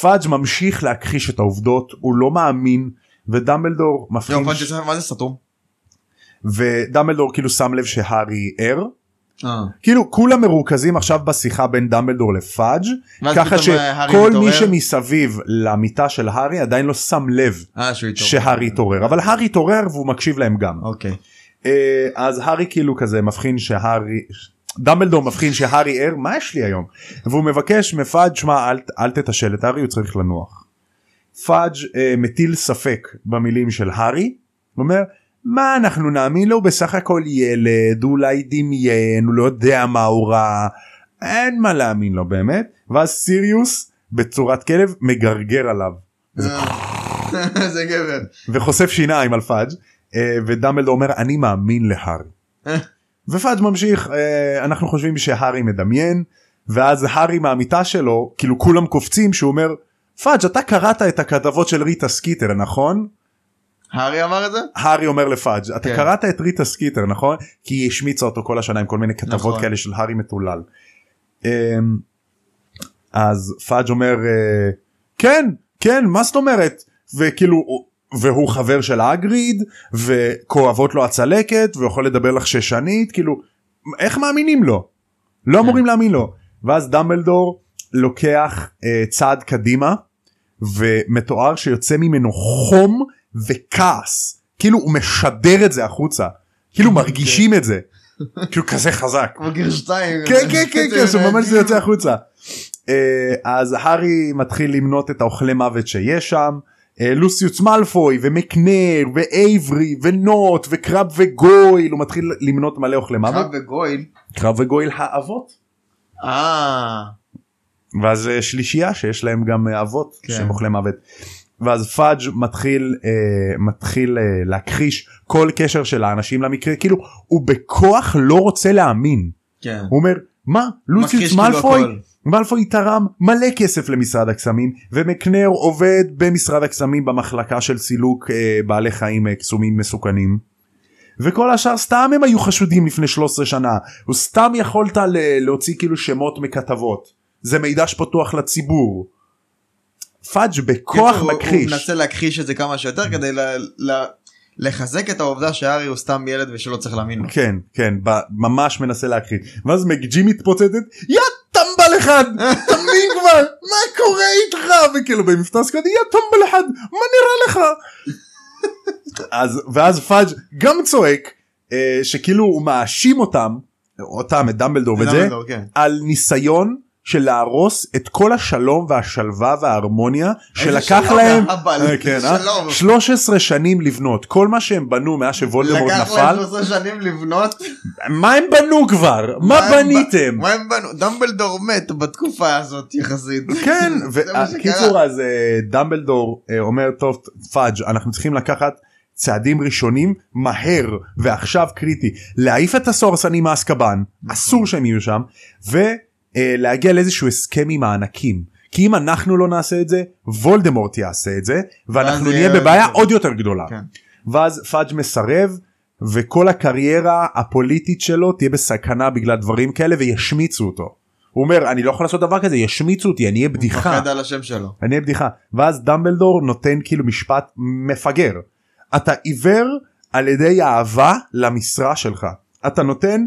S1: פאג' ממשיך להכחיש את העובדות, הוא לא מאמין, ודמבלדור מפחיד,
S2: יום פאנצ'י ספר מה זה סתום?
S1: ודמבלדור כאילו שם לב שהארי ער. כאילו כולם מרוכזים עכשיו בשיחה בין דמבלדור לפאג'
S2: ואז
S1: ככה
S2: פתאום, אה, הארי
S1: שכל מי
S2: מתעורר.
S1: שמסביב למיטה של הארי עדיין לא שם לב
S2: אה שהוא התעורר.
S1: שהארי התעורר אבל הארי התעורר והוא מקשיב להם גם
S2: אוקיי.
S1: אה, אז הארי כאילו כזה מבחין שהארי דמבלדור מבחין שהארי ער מה יש לי היום והוא מבקש מפאג' שמע אל, אל תתשל את הארי הוא צריך לנוח. פאג' אה, מטיל ספק במילים של הארי הוא אומר מה אנחנו נאמין לו הוא בסך הכל ילד הוא אולי דמיין הוא לא יודע מה הוא רע אין מה להאמין לו באמת ואז סיריוס בצורת כלב מגרגר עליו
S2: אה, זה גבר.
S1: וחושף שיניים על פאג' אה, ודמבלדור אומר אני מאמין להארי.
S2: אה.
S1: ופאג' ממשיך אה, אנחנו חושבים שהארי מדמיין ואז הארי מהמיטה שלו כאילו כולם קופצים שהוא אומר פאג' אתה קראת את הכתבות של ריטה סקיטר נכון?
S2: הארי אמר את זה?
S1: הארי אומר לפאג' אתה
S2: כן.
S1: קראת את ריטה סקיטר נכון? כי היא השמיצה אותו כל השנה עם כל מיני כתבות
S2: נכון.
S1: כאלה של הארי מטולל. אה, אז פאג' אומר אה, כן כן מה זאת אומרת וכאילו הוא- והוא חבר של אגריד וכואבות לו הצלקת ויכול לדבר לך ששנית כאילו איך מאמינים לו לא אמורים להאמין לו ואז דמבלדור לוקח אה, צעד קדימה ומתואר שיוצא ממנו חום וכעס כאילו הוא משדר את זה החוצה כאילו מרגישים את זה כאילו כזה חזק.
S2: כמו גרשתיים.
S1: כן כן כן כן שהוא ממש זה
S2: זה
S1: יוצא החוצה. אה, אז הארי מתחיל למנות את האוכלי מוות שיש שם. אה, לוסיוס מאלפוי ומקנר ואייברי ונוט וקרב וגויל הוא מתחיל למנות מלא אוכלי מוות
S2: בגויל.
S1: קרב וגויל האבות
S2: אה.
S1: ואז אה, שלישייה שיש להם גם אה, אבות
S2: כן.
S1: שהם אוכלי מוות ואז פאג' מתחיל אה, מתחיל אה, להכחיש כל קשר של האנשים למקרה כאילו הוא בכוח לא רוצה להאמין
S2: כן.
S1: הוא אומר מה
S2: מכחיש
S1: לוסיוס
S2: כאילו
S1: מאלפוי
S2: הכל.
S1: מאלפוי תרם מלא כסף למשרד הקסמים ומקנר עובד במשרד הקסמים במחלקה של סילוק אה, בעלי חיים אה, קסומים מסוכנים. וכל השאר סתם הם היו חשודים לפני 13 שנה הוא סתם יכולת ל- להוציא כאילו שמות מכתבות זה מידע שפתוח לציבור. פאג' בכוח
S2: קיצור, כן, הוא- הוא
S1: מכחיש
S2: מנסה להכחיש את זה כמה שיותר כדי ל- ל- לחזק את העובדה שהארי הוא סתם ילד ושלא צריך להאמין לו.
S1: כן כן ב- ממש מנסה להכחיש ואז מג'י מתפוצצת יא טמבל אחד תמיד כבר מה קורה איתך וכאילו במבטא סקוטי יא טמבל אחד מה נראה לך. אז ואז פאג' גם צועק אה, שכאילו הוא מאשים אותם אותם את דמבלדור ואת זה
S2: דמבלדור, כן.
S1: על ניסיון של להרוס את כל השלום והשלווה וההרמוניה אה, שלקח
S2: שלום,
S1: להם
S2: אבל,
S1: אה, כן, אה?
S2: שלום.
S1: 13 שנים לבנות כל מה שהם בנו מאז שוולדמורט
S2: לקח
S1: נפל.
S2: להם 13 שנים לבנות.
S1: מה הם בנו כבר? מה
S2: הם
S1: בניתם?
S2: ב- מה הם בנו? דמבלדור מת בתקופה הזאת יחסית.
S1: כן,
S2: זה מה שקרה.
S1: וקיצור אז אה, דמבלדור אה, אומר טוב פאג' אנחנו צריכים לקחת צעדים ראשונים מהר ועכשיו קריטי להעיף את הסורסנים מאסקבן
S2: נכון.
S1: אסור שהם יהיו שם ולהגיע לאיזשהו הסכם עם הענקים כי אם אנחנו לא נעשה את זה וולדמורט יעשה את זה ואנחנו
S2: ואז
S1: נהיה
S2: יהיה-
S1: בבעיה עוד יותר גדולה
S2: אה, כן.
S1: ואז פאג' מסרב וכל הקריירה הפוליטית שלו תהיה בסכנה בגלל דברים כאלה וישמיצו אותו. הוא אומר אני לא יכול לעשות דבר כזה ישמיצו אותי אני אהיה בדיחה
S2: פחד על השם שלו.
S1: אני אהיה בדיחה ואז דמבלדור נותן כאילו משפט מפגר אתה עיוור על ידי אהבה למשרה שלך אתה נותן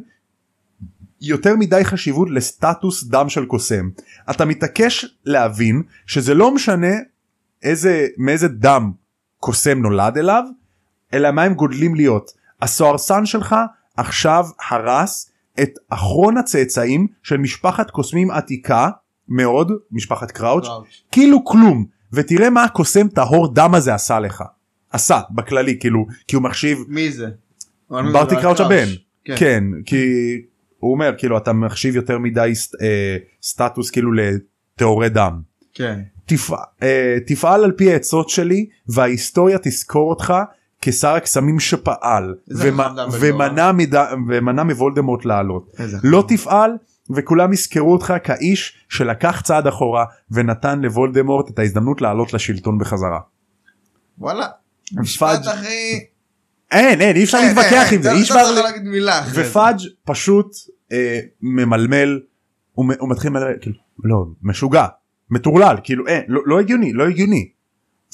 S1: יותר מדי חשיבות לסטטוס דם של קוסם אתה מתעקש להבין שזה לא משנה איזה מאיזה דם קוסם נולד אליו אלא מה הם גודלים להיות הסוהרסן שלך עכשיו הרס את אחרון הצאצאים של משפחת קוסמים עתיקה מאוד משפחת קראוץ' כאילו כלום ותראה מה הקוסם טהור דם הזה עשה לך עשה בכללי כאילו כי הוא מחשיב
S2: מי זה?
S1: ברטי קראוץ' הבן
S2: כן.
S1: כן כי הוא אומר כאילו אתה מחשיב יותר מדי סט- אה, סטטוס כאילו לטהורי דם.
S2: כן.
S1: תפע, אה, תפעל על פי העצות שלי וההיסטוריה תזכור אותך כשר הקסמים שפעל
S2: איזה
S1: ומ-
S2: חכם נכון, דמבלדור.
S1: ומנע, מד... ומנע מוולדמורט לעלות.
S2: איזה
S1: לא תפעל וכולם יזכרו אותך כאיש שלקח צעד אחורה ונתן לוולדמורט את ההזדמנות לעלות לשלטון בחזרה.
S2: וואלה.
S1: פאג'
S2: משפט הכי...
S1: אין אין אי אפשר
S2: אה,
S1: להתווכח
S2: אה,
S1: עם זה
S2: לא-
S1: אי
S2: לא
S1: אפשר
S2: צריך להגיד מילה אחרת.
S1: ופאג' פשוט אה, ממלמל הוא, מ- הוא מתחיל מלמל כאילו לא משוגע מטורלל כאילו אין לא, לא הגיוני לא הגיוני.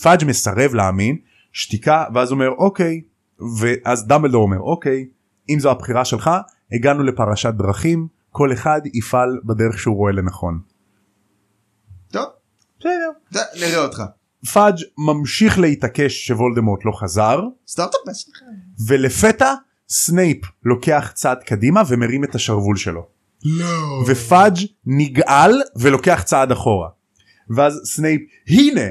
S1: פאג' מסרב להאמין שתיקה ואז הוא אומר אוקיי ואז דמבלדור אומר אוקיי אם זו הבחירה שלך הגענו לפרשת דרכים כל אחד יפעל בדרך שהוא רואה לנכון.
S2: טוב,
S1: בסדר.
S2: זה, נראה אותך.
S1: פאג' ממשיך להתעקש שוולדמורט לא חזר
S2: סטארט-אפ שלך.
S1: ולפתע סנייפ לוקח צעד קדימה ומרים את השרוול שלו
S2: לא.
S1: ופאג' נגעל ולוקח צעד אחורה. ואז סנייפ הנה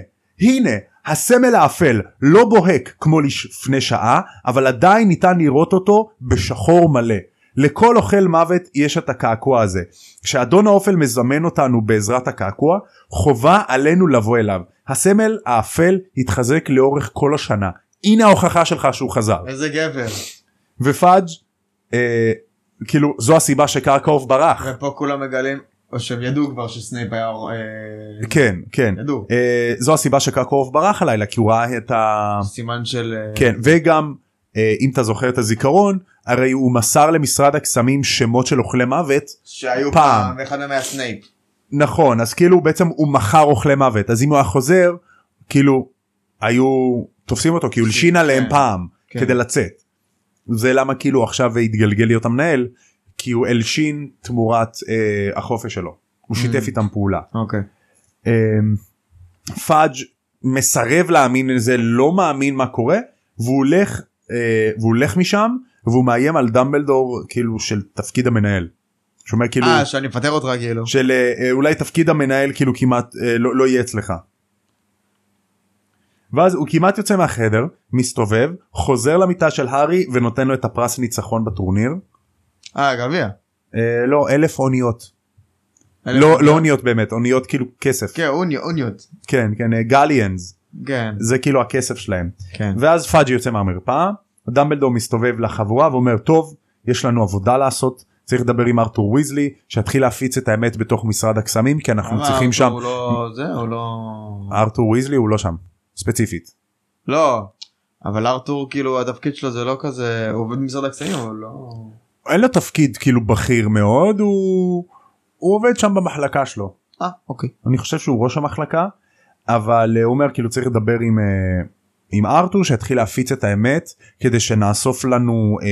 S1: הנה הסמל האפל לא בוהק כמו לפני שעה אבל עדיין ניתן לראות אותו בשחור מלא. לכל אוכל מוות יש את הקעקוע הזה. כשאדון האופל מזמן אותנו בעזרת הקעקוע חובה עלינו לבוא אליו. הסמל האפל התחזק לאורך כל השנה. הנה ההוכחה שלך שהוא חזר.
S2: איזה גבר.
S1: ופאג' אה, כאילו זו הסיבה שקרקוב ברח.
S2: ופה כולם מגלים, או שהם ידעו כבר שסנייפ היה... אה,
S1: כן כן
S2: ידעו.
S1: אה, זו הסיבה שקרקוב ברח הלילה כי הוא ראה את ה...
S2: סימן של... אה,
S1: כן וגם אה, אם אתה זוכר את הזיכרון הרי הוא מסר למשרד הקסמים שמות של אוכלי מוות
S2: שהיו
S1: פעם.
S2: פעם, ואחד מהם היה סנייפ.
S1: נכון אז כאילו בעצם הוא מכר אוכלי מוות אז אם הוא היה חוזר כאילו היו תופסים אותו כי הוא הלשין
S2: כן.
S1: עליהם פעם
S2: כן.
S1: כדי לצאת. זה למה כאילו עכשיו התגלגל להיות המנהל כי הוא הלשין תמורת אה, החופש שלו הוא שיתף
S2: Mm.
S1: איתם פעולה.
S2: אוקיי.
S1: אמ, פאג' מסרב להאמין לזה לא מאמין מה קורה והוא הולך אה, והוא הולך משם והוא מאיים על דמבלדור כאילו של תפקיד המנהל. שאומר כאילו
S2: אה, שאני מפטר אותך כאילו.
S1: של אה, אה, אולי תפקיד המנהל כאילו כמעט אה, לא, לא יהיה אצלך. ואז הוא כמעט יוצא מהחדר מסתובב חוזר למיטה של הארי ונותן לו את הפרס ניצחון בטורניר.
S2: אה, גביע.
S1: אה, לא אלף אוניות. לא לא אוניות באמת אוניות כאילו כסף
S2: כן, אוני- אוניות.
S1: כן כן גליאנס
S2: כן.
S1: זה כאילו הכסף שלהם.
S2: כן.
S1: ואז פאג' יוצא מהמרפאה דמבלדור מסתובב לחבורה ואומר טוב יש לנו עבודה לעשות צריך לדבר עם ארתור ויזלי שיתחיל להפיץ את האמת בתוך משרד הקסמים כי אנחנו
S2: למה
S1: צריכים
S2: אה, ארתור
S1: שם
S2: הוא לא זה הוא לא
S1: ארתור ויזלי הוא לא שם ספציפית
S2: לא אבל ארתור כאילו התפקיד שלו זה לא כזה הוא עובד במשרד הקסמים אבל לא
S1: אין לו תפקיד כאילו בכיר מאוד הוא הוא עובד שם במחלקה שלו
S2: אה אוקיי
S1: אני חושב שהוא ראש המחלקה אבל אה, הוא אומר כאילו צריך לדבר עם אה, עם ארתור שיתחיל להפיץ את האמת כדי שנאסוף לנו. אה,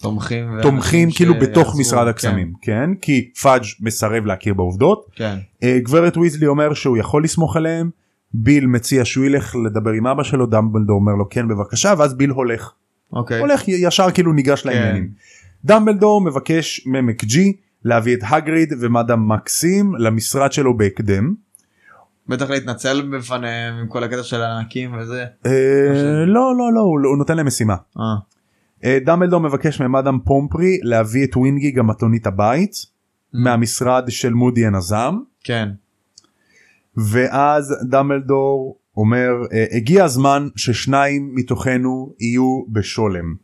S2: תומכים ואנשים
S1: תומכים כאילו בתוך
S2: שיעזרו,
S1: משרד
S2: כן,
S1: הקסמים כן כי פאג' מסרב להכיר בעובדות
S2: כן
S1: אה, גברת ויזלי אומר שהוא יכול לסמוך עליהם ביל מציע שהוא ילך לדבר עם אבא שלו דמבלדור אומר לו כן בבקשה ואז ביל הולך
S2: אוקיי
S1: הולך י- ישר כאילו ניגש לעניינים דמבלדור מבקש ממק ג'י להביא את הגריד ומדאם מקסים למשרד שלו בהקדם.
S2: בטח להתנצל בפניהם עם כל הקטע של הענקים וזה
S1: אה, לא לא לא הוא הוא נותן להם משימה.
S2: אה
S1: אה, דמבלדור מבקש ממאדם פומפרי להביא את ווינגי המתונית הבית
S2: Mm.
S1: מהמשרד של מודי הנזם.
S2: כן
S1: ואז דמבלדור אומר "אה, הגיע הזמן ששניים מתוכנו יהיו בשולם.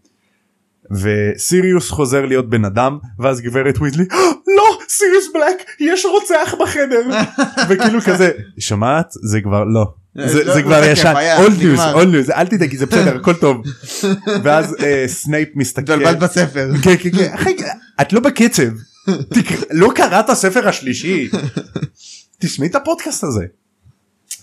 S1: וסיריוס חוזר להיות בן אדם ואז גברת ויזלי "אה, לא סיריוס בלק יש רוצח בחדר וכאילו כזה שמעת זה כבר לא
S2: אה,
S1: זה,
S2: לא,
S1: זה
S2: הוא
S1: כבר
S2: תקף,
S1: ישן
S2: היה,
S1: אולד ניוז
S2: נגמר.
S1: אולד ניוז אל תדאגי זה בסדר הכל טוב ואז אה, סנייפ מסתכל
S2: התבלבלת בספר
S1: כן, כן, כן. אחי, את לא בקצב תקר- לא קראת הספר השלישי תשמעי את הפודקאסט הזה.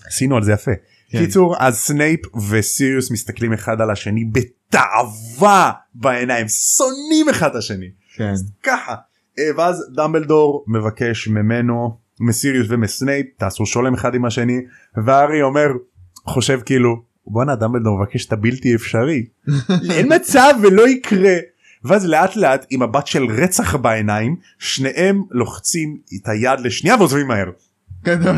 S1: עשינו על זה יפה.
S2: כן.
S1: קיצור אז סנייפ וסיריוס מסתכלים אחד על השני בתאווה בעיניים שונאים אחד את השני
S2: כן
S1: ככה אה, ואז דמבלדור מבקש ממנו מסיריוס ומסנייפ תעשו שולם אחד עם השני והארי אומר חושב כאילו בואנה דמבלדור מבקש את הבלתי אפשרי אין מצב ולא יקרה ואז לאט לאט עם מבט של רצח בעיניים שניהם לוחצים את היד לשנייה ועוזבים מהר.
S2: גדול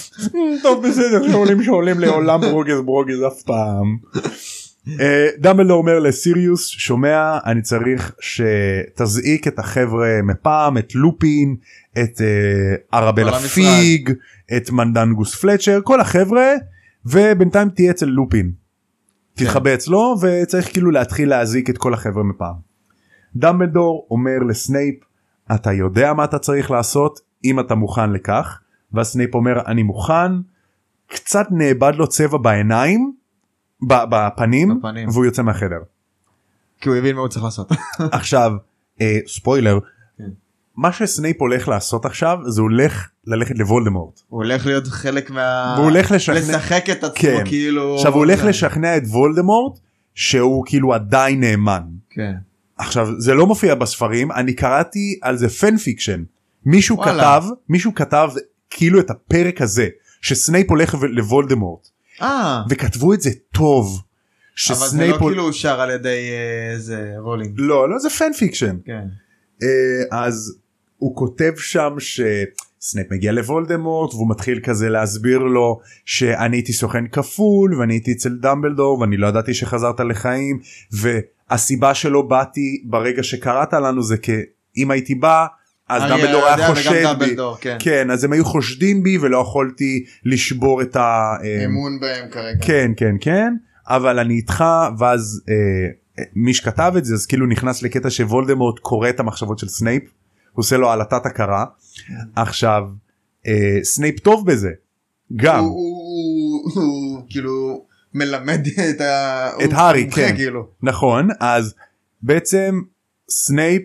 S1: טוב בסדר שעולים שעולים לעולם ברוגז ברוגז אף פעם. אה, דמבלדור אומר לסיריוס שומע אני צריך שתזעיק את החבר'ה מפעם את לופין את אה,
S2: כל
S1: ארבלה
S2: המשרד.
S1: פיג את מנדנגוס פלצ'ר כל החבר'ה ובינתיים תהיה אצל לופין.
S2: כן.
S1: תתחבא אצלו וצריך כאילו להתחיל להזעיק את כל החבר'ה מפעם. דמבלדור אומר לסנייפ אתה יודע מה אתה צריך לעשות אם אתה מוכן לכך ואז סנייפ אומר אני מוכן קצת נאבד לו צבע בעיניים ב- בפנים,
S2: בפנים.
S1: והוא יוצא מהחדר
S2: כי הוא הבין מה הוא צריך לעשות
S1: עכשיו אה, ספוילר
S2: כן.
S1: מה שסנייפ הולך לעשות עכשיו זה הולך ללכת לוולדמורט.
S2: הוא הולך להיות חלק מה...
S1: והוא הולך לשכנע-
S2: אה, לשחק את עצמו
S1: כן.
S2: כאילו...
S1: עכשיו הוא הולך לשכנע את וולדמורט שהוא כאילו עדיין נאמן.
S2: כן.
S1: עכשיו זה לא מופיע בספרים אני קראתי על זה פן פיקשן מישהו
S2: וואלה.
S1: כתב מישהו כתב כאילו את הפרק הזה שסנייפ הולך ו- לוולדמורט
S2: אה,
S1: וכתבו את זה טוב.
S2: אבל זה לא
S1: הול-
S2: כאילו אושר על ידי אה, איזה רולינג.
S1: לא לא זה פן פיקשן
S2: כן.
S1: אה, אז הוא כותב שם שסנייפ מגיע לוולדמורט והוא מתחיל כזה להסביר לו שאני הייתי סוכן כפול ואני הייתי אצל דמבלדור ואני לא ידעתי שחזרת לחיים והסיבה שלא באתי ברגע שקראת לנו זה כי אם הייתי בא אז
S2: אריה
S1: דמבלדור היה
S2: אה, יודע וגם
S1: חושד בי.
S2: דמבלדור, כן.
S1: כן אז הם היו חושדים בי ולא יכולתי לשבור את ה... אה,
S2: אמון בהם כרגע.
S1: כן כן כן אבל אני איתך ואז אה, מי שכתב את זה אז כאילו נכנס לקטע שוולדמורט קורא את המחשבות של סנייפ הוא עושה לו העלטת הכרה עכשיו אה, סנייפ טוב בזה גם
S2: הוא- הוא הוא- הוא כאילו מלמד את ה...
S1: את
S2: הוא
S1: הארי,
S2: מומחה,
S1: כן.
S2: כאילו.
S1: נכון אז בעצם סנייפ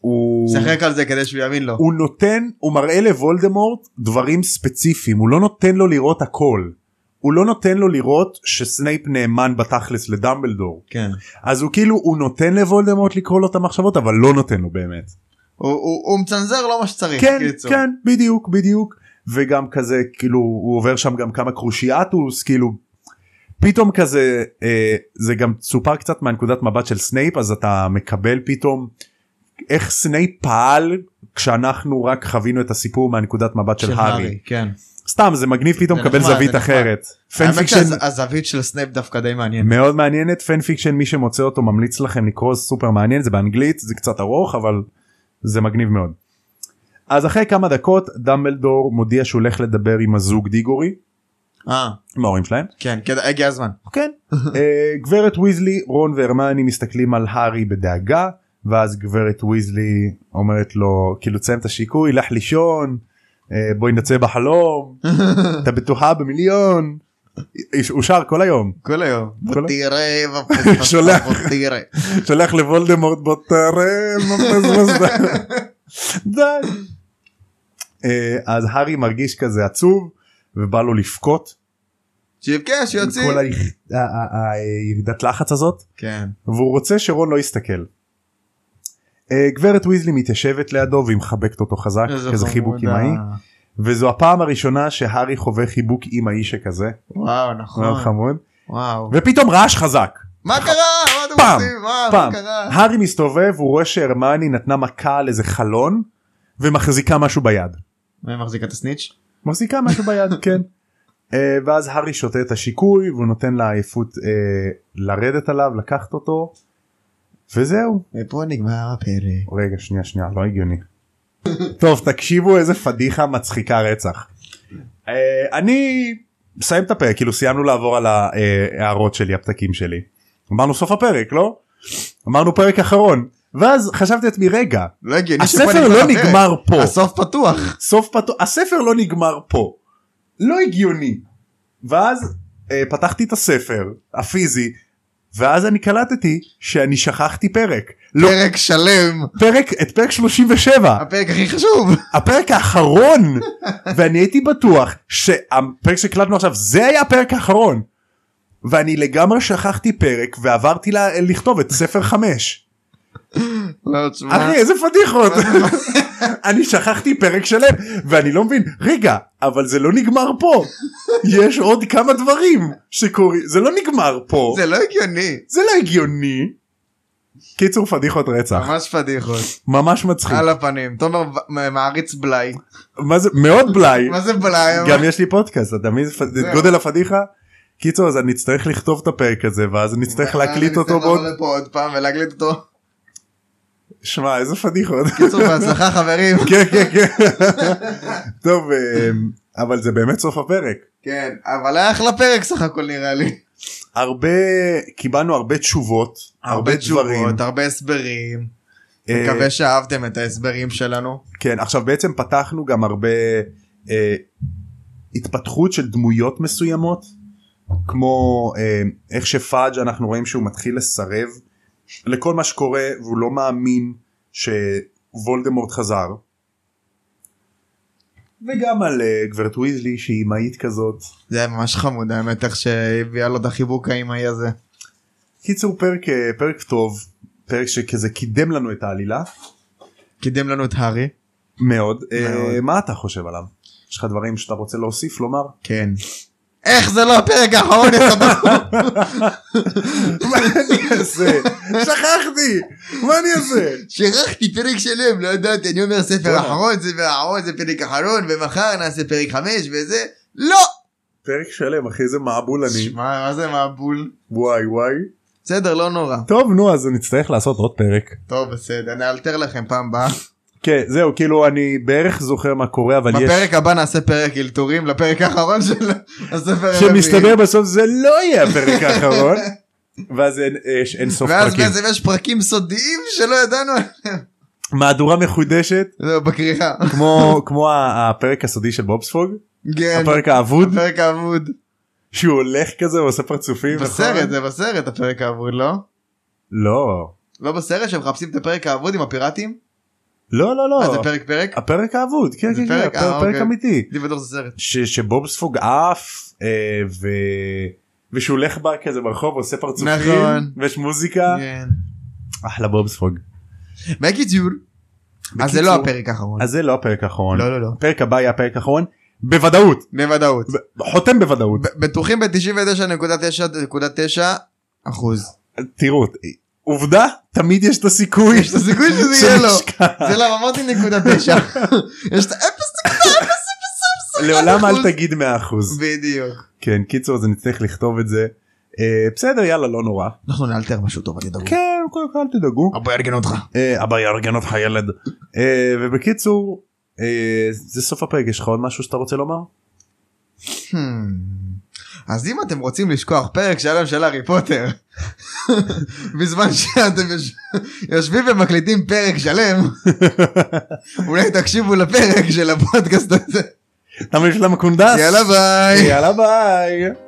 S1: הוא
S2: שחק על זה כדי שהוא יאמין לו.
S1: הוא נותן הוא מראה לוולדמורט דברים ספציפיים הוא לא נותן לו לראות הכל. הוא לא נותן לו לראות שסנייפ נאמן בתכלס לדמבלדור.
S2: כן.
S1: אז הוא כאילו הוא נותן לוולדמורט לקרוא לו את המחשבות אבל לא נותן לו באמת.
S2: הוא- הוא הוא מצנזר לא מה שצריך.
S1: כן
S2: קיצור.
S1: כן בדיוק בדיוק וגם כזה כאילו הוא עובר שם גם כמה קרושיאטוס כאילו פתאום כזה אה, זה גם סופר קצת מהנקודת מבט של סנייפ אז אתה מקבל פתאום איך סנייפ פעל כשאנחנו רק חווינו את הסיפור מהנקודת מבט של, הארי.
S2: כן.
S1: סתם זה מגניב פתאום
S2: זה
S1: לקבל
S2: נחמד,
S1: זווית
S2: זה נחמד.
S1: אחרת.
S2: האמת
S1: פנפיקשן
S2: שהזווית של סנייפ דווקא די מעניינת.
S1: מאוד מעניינת פן פיקשן מי שמוצא אותו ממליץ לכם לקרוא סופר מעניין זה באנגלית זה קצת ארוך אבל זה מגניב מאוד. אז אחרי כמה דקות דמבלדור מודיע שהוא הולך לדבר עם הזוג דיגורי
S2: אה,
S1: עם ההורים שלהם.
S2: כן, כן, הגיע הזמן.
S1: כן. אה, גברת ויזלי רון והרמני מסתכלים על הארי בדאגה ואז גברת ויזלי אומרת לו כאילו תסיים את השיקוי לך לישון אה, בואי נצא בחלום אתה בטוחה במיליון. הוא שר כל היום
S2: כל היום.
S1: כל היום.
S2: תראה, ופספס,
S1: שולח.
S2: תראה.
S1: שולח לוולדמורט בוא תראה מה מבזבז די. אה, אז הארי מרגיש כזה עצוב ובא לו לבכות
S2: שיבקש, שיוציא.
S1: כל ה- ה- ה- ה- הירידת לחץ הזאת
S2: כן.
S1: והוא רוצה שרון לא יסתכל. אה, גברת ויזלי מתיישבת לידו והיא מחבקת אותו חזק כזה חיבוק
S2: חמודה.
S1: אמאי וזו הפעם הראשונה שהארי חווה חיבוק אמאי שכזה
S2: וואו,
S1: מאוד
S2: נכון.
S1: חמוד
S2: וואו.
S1: ופתאום רעש חזק
S2: מה קרה? מה אתם
S1: פעם,
S2: עושים? מה מה
S1: פעם
S2: קרה?
S1: הארי מסתובב הוא רואה שהרמני נתנה מכה על איזה חלון ומחזיקה משהו ביד.
S2: מי מחזיק את הסניץ'?
S1: מחזיקה משהו ביד כן. אה, ואז הארי שותה את השיקוי והוא נותן לעייפות אה, לרדת עליו לקחת אותו. וזהו
S2: ופה נגמר הפרק.
S1: רגע שנייה שנייה לא הגיוני. טוב תקשיבו איזה פדיחה מצחיקה רצח. אה, אני מסיים את הפרק כאילו סיימנו לעבור על ההערות שלי הפתקים שלי. אמרנו סוף הפרק לא? אמרנו פרק אחרון ואז חשבתי לעצמי רגע
S2: לא הגיוני שפה
S1: הספר לא
S2: הפרק.
S1: נגמר פה
S2: הסוף פתוח.
S1: סוף פתוח הספר לא נגמר פה לא הגיוני ואז אה, פתחתי את הספר הפיזי ואז אני קלטתי שאני שכחתי פרק לא
S2: פרק שלם.
S1: פרק את פרק 37
S2: הפרק הכי חשוב.
S1: הפרק האחרון ואני הייתי בטוח שהפרק שהקלטנו עכשיו זה היה הפרק האחרון ואני לגמרי שכחתי פרק ועברתי ל- לכתוב את ספר 5
S2: לא, תשמע.
S1: אחי איזה פדיחות אני שכחתי פרק שלם ואני לא מבין רגע אבל זה לא נגמר פה יש עוד כמה דברים שקורים זה לא נגמר פה
S2: זה לא הגיוני.
S1: זה לא הגיוני. קיצור פדיחות רצח
S2: ממש פדיחות.
S1: ממש מצחיק
S2: על הפנים. תומר ו- מעריץ בלאי.
S1: מה זה מאוד בלאי.
S2: מה זה בלאי? אבל-
S1: גם יש לי פודקאסט אתה מבין פ- את גודל הפדיחה. קיצור אז אני אצטרך לכתוב את הפרק הזה ואז אני אצטרך להקליט אותו
S2: אה, אני
S1: בעוד
S2: אצטרך לבוא לפה עוד פעם ולהקליט אותו.
S1: שמע איזה פדיחות.
S2: קיצור בהצלחה חברים.
S1: כן כן כן. טוב אמ, אבל זה באמת סוף הפרק.
S2: כן אבל היה אחלה פרק סך הכל נראה לי.
S1: הרבה קיבלנו הרבה תשובות הרבה דברים
S2: הרבה הסברים.
S1: אה,
S2: מקווה שאהבתם את ההסברים שלנו.
S1: כן עכשיו בעצם פתחנו גם הרבה אה, התפתחות של דמויות מסוימות כמו אה, איך שפאג' אנחנו רואים שהוא מתחיל לסרב לכל מה שקורה והוא לא מאמין שוולדמורט חזר וגם על אה, גברת ויזלי שהיא אמהית כזאת.
S2: זה היה ממש חמוד האמת איך שהביאה לו את החיבוק האימהי הזה.
S1: קיצור פרק אה, פרק טוב פרק שכזה קידם לנו את העלילה
S2: קידם לנו את הארי.
S1: מאוד. אה,
S2: מאוד.
S1: מה אתה חושב עליו? יש לך דברים שאתה רוצה להוסיף לומר?
S2: כן. איך זה לא הפרק האחרון אתה בחור?
S1: מה אני אעשה? שכחתי! מה אני אעשה?
S2: שכחתי פרק שלם לא ידעתי אני אומר ספר
S1: בואנה.
S2: אחרון ספר אחרון זה פרק אחרון ומחר נעשה פרק חמש וזה לא.
S1: פרק שלם אחי איזה מעבול אני.
S2: שמע מה זה מבול?
S1: וואי וואי.
S2: בסדר לא נורא.
S1: טוב נו אז נצטרך לעשות עוד פרק.
S2: טוב בסדר נאלתר לכם פעם הבאה.
S1: כן זהו כאילו אני בערך זוכר מה קורה אבל יש.
S2: בפרק הבא נעשה פרק אלתורים לפרק האחרון של הספר הרביעי.
S1: שמסתבר בסוף זה לא יהיה הפרק האחרון. ואז אין, יש, אין סוף
S2: ואז
S1: פרקים.
S2: בעצם יש פרקים סודיים שלא ידענו
S1: מהדורה מחודשת
S2: לא, בכריכה.
S1: כמו כמו ה- הפרק הסודי של בובספוג
S2: כן.
S1: הפרק האבוד
S2: הפרק האבוד.
S1: שהוא הולך כזה ועושה פרצופים. נכון?
S2: בסרט זה בסרט הפרק האבוד לא?
S1: לא
S2: לא בסרט שמחפשים את הפרק האבוד עם הפיראטים?
S1: לא לא
S2: אה,
S1: לא
S2: זה פרק פרק?
S1: הפרק האבוד כן
S2: זה
S1: כן כן
S2: פרק? אה,
S1: הפר- פרק
S2: אוקיי.
S1: אמיתי
S2: אני בטוח שזה סרט.
S1: ש- שבובספוג עף אה, ו... ושהוא הולך בר כזה ברחוב עושה פרצופים
S2: נכון.
S1: ויש מוזיקה
S2: כן.
S1: אחלה בובספוג.
S2: בקיצור. אז זה
S1: בקיצור,
S2: לא הפרק האחרון.
S1: אז זה לא הפרק האחרון
S2: לא לא לא.
S1: הפרק הבא יהיה הפרק האחרון בוודאות
S2: בוודאות.
S1: ב- חותם בוודאות
S2: ב- בטוחים ב-99.9.9 אחוז.
S1: תראו עובדה תמיד יש את הסיכוי
S2: יש את הסיכוי שזה יהיה לו.
S1: שנשכח.
S2: זה למה אמרתי נקודה תשע. יש את האפס נקודה אפס אפס אפס.
S1: לעולם
S2: אחוז.
S1: אל תגיד 100%
S2: בדיוק.
S1: כן קיצור אז נצטרך לכתוב את זה אה, בסדר יאללה לא נורא
S2: אנחנו נאלתר משהו טוב אל תדאגו.
S1: כן קודם כל אל תדאגו
S2: אבו יארגן אותך.
S1: אה, אבא יארגן אותך ילד אה, ובקיצור אה, זה סוף הפרק יש לך עוד משהו שאתה רוצה לומר?
S2: Hmm. אז אם אתם רוצים לשכוח פרק שלם של הארי פוטר בזמן שאתם יוש... יושבים ומקליטים פרק שלם אולי תקשיבו לפרק של הפודקאסט הזה
S1: למה יש להם קונדס?
S2: יאללה ביי.
S1: יאללה ביי.